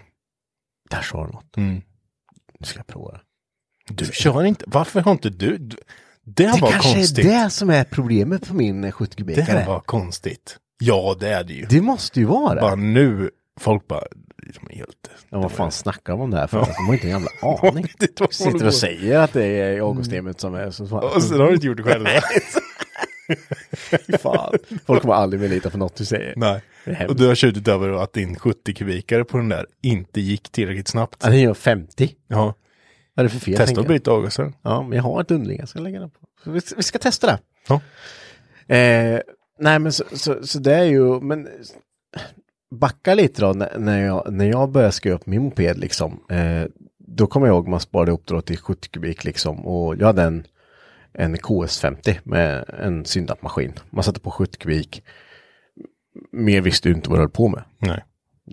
Speaker 2: Där sa du något.
Speaker 3: Mm.
Speaker 2: Nu ska jag prova.
Speaker 3: Du kör inte, varför har inte du? du det,
Speaker 2: Det
Speaker 3: var
Speaker 2: kanske
Speaker 3: konstigt.
Speaker 2: är det som är problemet för min eh, 70
Speaker 3: det
Speaker 2: kubikare.
Speaker 3: var konstigt. Ja, det är det ju.
Speaker 2: Det måste ju vara det.
Speaker 3: Bara nu, folk bara, som en hjälte.
Speaker 2: Ja, vad fan snackar de om det här för?
Speaker 3: Ja.
Speaker 2: De har inte en jävla
Speaker 3: Jag
Speaker 2: aning.
Speaker 3: vet inte vad de håller
Speaker 2: Sitter
Speaker 3: på.
Speaker 2: och säger att det är Augusthemet som är så fan.
Speaker 3: Och sen har du inte gjort det själv.
Speaker 2: fan. Folk kommer aldrig mer lita på något du säger.
Speaker 3: Nej.
Speaker 2: Det är hemskt.
Speaker 3: Och du har tjutit över att din 70-kubikare på den där inte gick tillräckligt snabbt.
Speaker 2: Ja, den gör 50.
Speaker 3: Ja.
Speaker 2: Vad är det för fel?
Speaker 3: Testa
Speaker 2: tänker
Speaker 3: att
Speaker 2: jag.
Speaker 3: byta avgasrör.
Speaker 2: Ja, men jag har ett underling jag ska lägga den på. Så Vi, vi ska testa det.
Speaker 3: Ja.
Speaker 2: Eh, nej, men så, så, så det är ju, men backa lite då när, när jag, när jag började skruva upp min moped liksom. Eh, då kommer jag ihåg man sparade ihop då till 70 kubik liksom och jag hade en, en KS50 med en syndapmaskin. Man satte på 70 kubik. Mer visste du inte vad du höll på med
Speaker 3: Nej.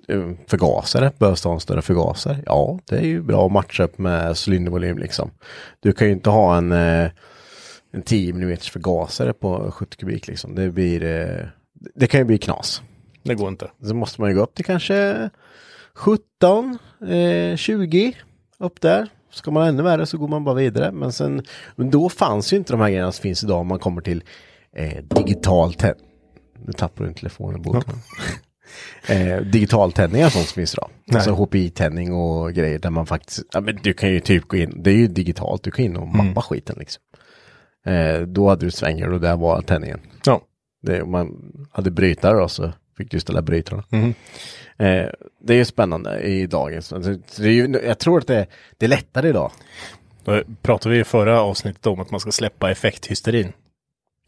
Speaker 2: eh, förgasare, behövs det ha en större förgasare? Ja, det är ju bra att matcha upp med cylindervolym liksom. Du kan ju inte ha en, eh, en 10 mm förgasare på 70 kubik liksom. Det blir, eh, det kan ju bli knas.
Speaker 3: Det går inte.
Speaker 2: Så måste man ju gå upp till kanske 17, eh, 20, upp där. Ska man ännu värre så går man bara vidare. Men, sen, men då fanns ju inte de här grejerna som finns idag om man kommer till eh, digital tänd. Nu tappar du telefonen bort. eh, digital tändning är sånt som finns idag. Alltså HPI-tändning och grejer där man faktiskt, ja, men du kan ju typ gå in, det är ju digitalt, du kan in och mappa skiten liksom. Eh, då hade du svänger och där var tändningen.
Speaker 3: Ja.
Speaker 2: Det, om man hade brytare då så fick du ställa brytarna. Eh, det är ju spännande i dagens. Alltså, det är ju, jag tror att det, det är lättare idag.
Speaker 3: Då pratade vi i förra avsnittet om att man ska släppa effekthysterin.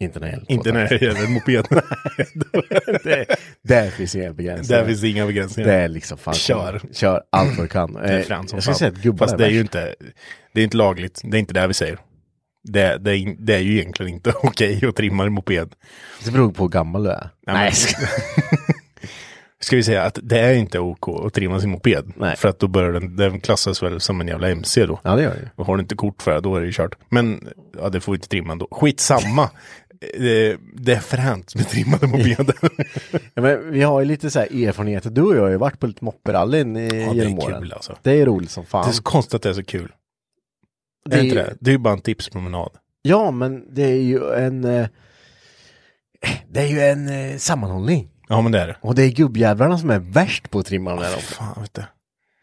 Speaker 2: Inte när det gäller
Speaker 3: Inte när det gäller mopeden.
Speaker 2: det, Där finns inga begränsningar.
Speaker 3: Där finns inga
Speaker 2: det
Speaker 3: begränsningar.
Speaker 2: är liksom fan.
Speaker 3: Kör.
Speaker 2: Kör allt vad du kan.
Speaker 3: Det är
Speaker 2: Eh,
Speaker 3: fränt som
Speaker 2: jag skulle
Speaker 3: fan.
Speaker 2: säga att gubbarna
Speaker 3: Fast det är
Speaker 2: värst.
Speaker 3: ju inte, det är inte lagligt. Det är inte det vi säger. Det, det, är in- det är ju egentligen inte okej att trimma en moped.
Speaker 2: Det beror på hur gammal du är.
Speaker 3: Nej, men- Ska vi säga att det är inte OK att trimma sin moped.
Speaker 2: Nej.
Speaker 3: För att då börjar den, den klassas väl som en jävla MC då.
Speaker 2: Ja, det gör det ju.
Speaker 3: Och har du inte kort för det, då är det ju kört. Men ja, det får vi inte trimma ändå. Skitsamma. det, det är fränt med trimmade mopeder.
Speaker 2: Ja, men vi har ju lite så här erfarenheter. Du och jag har ju varit på lite mopperallyn i-
Speaker 3: det är
Speaker 2: genom
Speaker 3: kul,
Speaker 2: åren.
Speaker 3: alltså.
Speaker 2: Det är roligt som fan.
Speaker 3: Det är så konstigt att det är så kul. Det
Speaker 2: Det
Speaker 3: är,
Speaker 2: är-
Speaker 3: inte det? det är ju bara en tipspromenad.
Speaker 2: Ja, men det är ju en... eh, Det är ju en eh, sammanhållning.
Speaker 3: Ja, men det är det.
Speaker 2: Och det är gubbjävlarna som är värst på att trimma de där.
Speaker 3: Fan, vet du.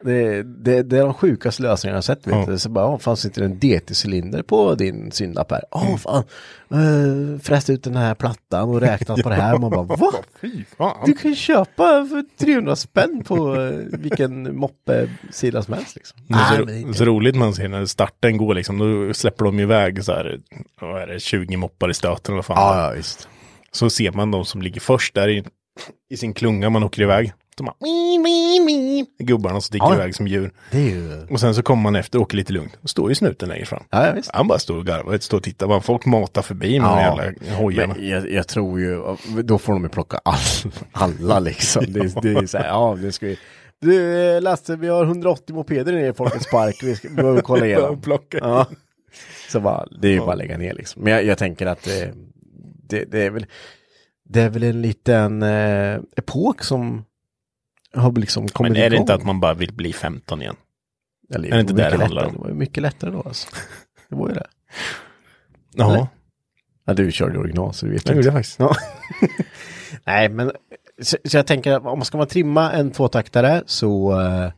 Speaker 2: Det, det, det är de sjukaste lösningarna jag har sett. Vet
Speaker 3: Ja.
Speaker 2: du. Så bara, åh, fanns inte en DT-cylinder på din syndapp här? Åh, fan. Uh, fräst ut den här plattan och räknat på det här. Man bara, va?
Speaker 3: Fy fan.
Speaker 2: Du kan ju köpa för 300 spänn på eh, vilken moppe-sida som helst. Liksom.
Speaker 3: Det är så,
Speaker 2: men
Speaker 3: så roligt man ser när starten går liksom, då släpper de iväg så här, vad är det, 20 moppar i stöten eller vad fan.
Speaker 2: Ja, ja, visst.
Speaker 3: Så ser man de som ligger först där i, i sin klunga man åker iväg. De bara, "Mii, mii, mii." Gubbarna sticker
Speaker 2: Ja.
Speaker 3: iväg som djur.
Speaker 2: Det är ju...
Speaker 3: Och sen så kommer man efter och åker lite lugnt. Då står ju snuten längre fram.
Speaker 2: Ja, ja, visst.
Speaker 3: Han bara står och garvar, står och tittar. Bara folk matar förbi med de jävla hojarna.
Speaker 2: Men jag, jag tror ju, då får de ju plocka all, alla liksom. Det, är- det är så här, ja nu ska vi. Du eh, Lasse, vi har 180 mopeder nere i Folkets Park, vi ska- vi behöver kolla igenom.
Speaker 3: plocka.
Speaker 2: Ja. Så bara, det är ju bara att lägga ner liksom. Men jag, jag tänker att eh, det, det, är väl, det är väl en liten eh, epok som har liksom kommit
Speaker 3: Men är det
Speaker 2: igång.
Speaker 3: inte att man bara vill bli 15 igen?
Speaker 2: Eller,
Speaker 3: är det inte
Speaker 2: var
Speaker 3: det det
Speaker 2: mycket
Speaker 3: handlar
Speaker 2: lättare.
Speaker 3: om?
Speaker 2: Det var ju mycket lättare då alltså. Det var ju det.
Speaker 3: Ja,
Speaker 2: Nej. Ja, du körde original så du vet
Speaker 3: det
Speaker 2: inte.
Speaker 3: gjorde jag faktiskt.
Speaker 2: Ja. Nej, men så, så jag tänker att om man ska man trimma en tvåtaktare så eh,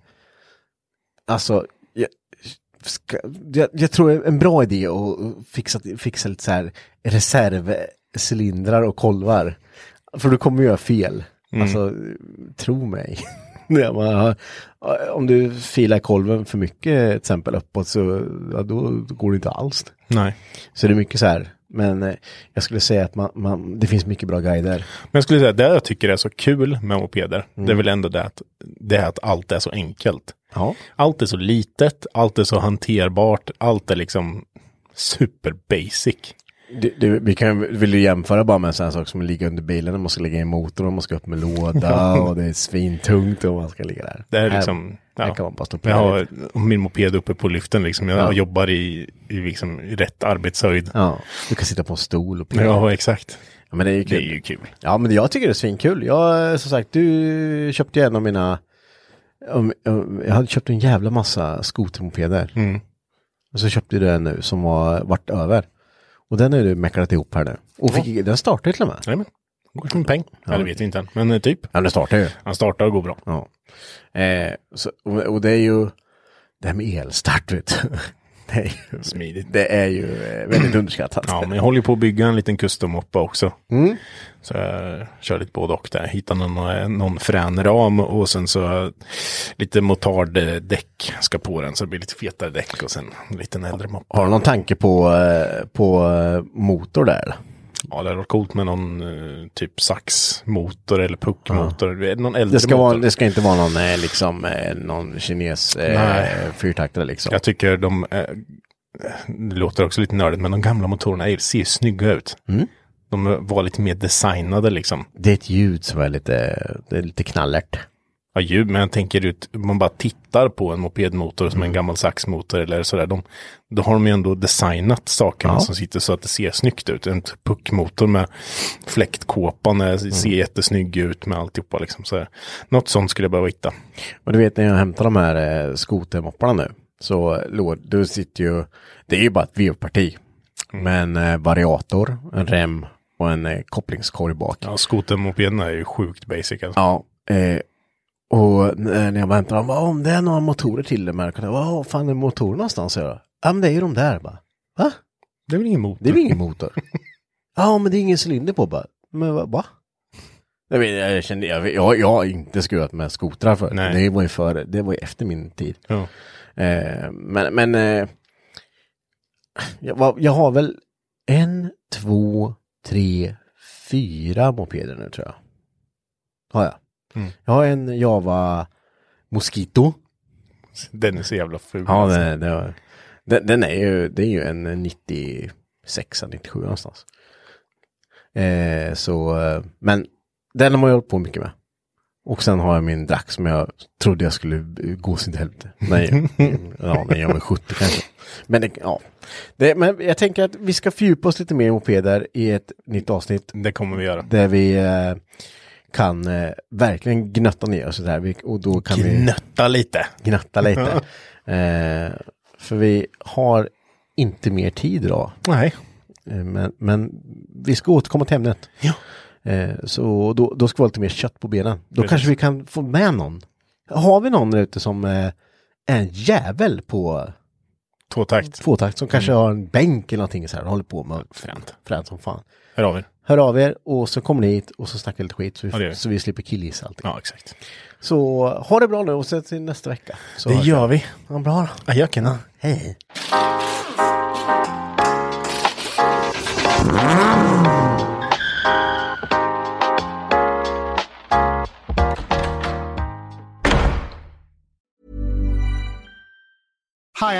Speaker 2: alltså jag, ska, jag, jag tror en bra idé att fixa, fixa lite så här reservcylindrar och kolvar. För du kommer göra fel. Alltså, tro mig. När man har, eh, om du filar kolven för mycket till exempel uppåt så ja, då går det inte alls.
Speaker 3: Nej.
Speaker 2: Så det är mycket så här. Men eh, jag skulle säga att man, man, det finns mycket bra guider.
Speaker 3: Men jag skulle säga att det jag tycker är så kul med mopeder,
Speaker 2: Mm.
Speaker 3: det är väl ändå det att, det är att allt är så enkelt.
Speaker 2: Ja.
Speaker 3: Allt är så litet, allt är så hanterbart, allt är liksom super basic.
Speaker 2: Det, det, vi kan, vill du jämföra bara med en sån här sak som att ligga under bilen, man ska lägga i motorn, och man ska upp med låda och det är svintungt och man ska ligga där.
Speaker 3: Det här är liksom...
Speaker 2: Här, här kan man bara stå på
Speaker 3: jag
Speaker 2: lite.
Speaker 3: har min moped uppe på lyften liksom. Jag
Speaker 2: Ja.
Speaker 3: jobbar i, i liksom rätt arbetshöjd.
Speaker 2: Ja, du kan sitta på en stol och
Speaker 3: Ja,
Speaker 2: pilla.
Speaker 3: exakt.
Speaker 2: Ja, men det är ju
Speaker 3: Det
Speaker 2: kul.
Speaker 3: är ju kul.
Speaker 2: Ja, men jag tycker det är svinkul. Jag, eh, som sagt, du köpte ju en av mina... om- om- Jag hade köpt en jävla massa skotermopeder.
Speaker 3: Mm.
Speaker 2: Och så köpte du en nu som var vart över. Och den är du mäcklat ihop här nu. Och fick, den startar ju till och med.
Speaker 3: Jajamän. Går som en peng. Ja. Det vet vi inte än. Men eh, typ.
Speaker 2: Ja, den startar ju.
Speaker 3: Han startar och går bra.
Speaker 2: Ja. Eh, så, och, och det är ju... Det här med elstart, vet du. Det är ju,
Speaker 3: Smidigt.
Speaker 2: det är ju eh, väldigt underskattat.
Speaker 3: Ja, men jag håller ju på att bygga en liten custom-moppa också.
Speaker 2: Mm.
Speaker 3: Så jag kör lite både och där. Hittar någon, eh, någon frän ram och sen så lite motard-däck ska på den. Så det blir lite fetare däck och sen en liten äldre moppa.
Speaker 2: Har du någon tanke på, eh, på eh, motor där? eller?
Speaker 3: Ja, det hade varit coolt med någon eh, typ saxmotor eller puckmotor. Ja. Någon äldre
Speaker 2: Det ska, vara,
Speaker 3: motor.
Speaker 2: det ska inte vara någon, eh, liksom, eh, någon kines eh,
Speaker 3: Nej.
Speaker 2: fyrtaktare liksom.
Speaker 3: Jag tycker de, eh, det låter också lite nördigt, men de gamla motorerna är- ser ju snygga ut.
Speaker 2: Mm.
Speaker 3: De var lite mer designade liksom.
Speaker 2: Det är ett ljud som är lite, det är lite knallert.
Speaker 3: Ja, ljud, men jag tänker ut, man bara tittar på en mopedmotor som
Speaker 2: Mm.
Speaker 3: en gammal saxmotor eller sådär. De, då har de ju ändå designat sakerna
Speaker 2: Ja.
Speaker 3: som sitter så att det ser snyggt ut. En puckmotor med fläktkåpan eh,
Speaker 2: Mm.
Speaker 3: ser jättesnygg ut med alltihopa liksom. Så, något sånt skulle jag behöva hitta.
Speaker 2: Och du vet när jag hämtar de här eh, skotermopparna nu. Så låd, du sitter ju, det är ju bara ett veoparti.
Speaker 3: Mm.
Speaker 2: Med en eh, variator, en rem och en eh, kopplingskorg bak.
Speaker 3: Ja, skotermopederna är ju sjukt basic alltså.
Speaker 2: Ja, eh, och när när jag bara hämtade dem, bara, om det är några motorer till det märker jag, vad fan är motorn någonstans? Jag bara, ja men det är ju de där bara. Va?
Speaker 3: Det är väl ingen motor?
Speaker 2: Det är väl ingen motor? ja men det är ingen cylinder på bara. Men va? va? Jag, vet, jag, kände, jag, jag, jag har inte skruvat med skotrar för.
Speaker 3: Nej.
Speaker 2: Det var ju före, det var ju efter min tid.
Speaker 3: Ja.
Speaker 2: Eh, men men eh, jag, var- jag har väl en, två, tre, fyra mopeder nu tror jag. Har jag.
Speaker 3: Mm.
Speaker 2: Jag har en Java Mosquito.
Speaker 3: Den är så jävla ful.
Speaker 2: Ja,
Speaker 3: alltså.
Speaker 2: det, det var, den, den är ju, det är ju en 96, 97 någonstans. Eh, så, eh, men den har man ju hållit på mycket med. Och sen har jag min Drax som jag trodde jag skulle eh, gå sin helvete. Nej, ja, när jag var 70 kanske. Men, det, ja. det, men jag tänker att vi ska fördjupa oss lite mer i mopeder i ett nytt avsnitt
Speaker 3: det kommer vi göra.
Speaker 2: där vi eh, kan eh, verkligen gnötta ner oss där. Vi, och då kan vi
Speaker 3: Knötta lite.
Speaker 2: gnatta lite. eh, för vi har inte mer tid idag.
Speaker 3: Nej.
Speaker 2: Eh, men, men vi ska återkomma till ämnet.
Speaker 3: Ja.
Speaker 2: Eh, så då, då ska vi ha lite mer kött på benen. Då kanske vi kan få med någon. Har vi någon där ute som eh, är en jävel på
Speaker 3: Tvåtakt.
Speaker 2: tvåtakt som kanske har en bänk eller någonting så här och håller på med
Speaker 3: Mm. Fränt.
Speaker 2: fränt som fan.
Speaker 3: Hör av er.
Speaker 2: Hör av er och så kommer ni hit och så snackar vi lite skit så vi,
Speaker 3: Ja, det gör vi.
Speaker 2: så vi slipper killgissa allting.
Speaker 3: Ja, exakt.
Speaker 2: Så ha det bra nu och ses till nästa vecka. Så hörs vi.
Speaker 3: vi.
Speaker 2: Ja, bra då.
Speaker 3: Ajöken.
Speaker 2: Hej, hej.
Speaker 7: Hi,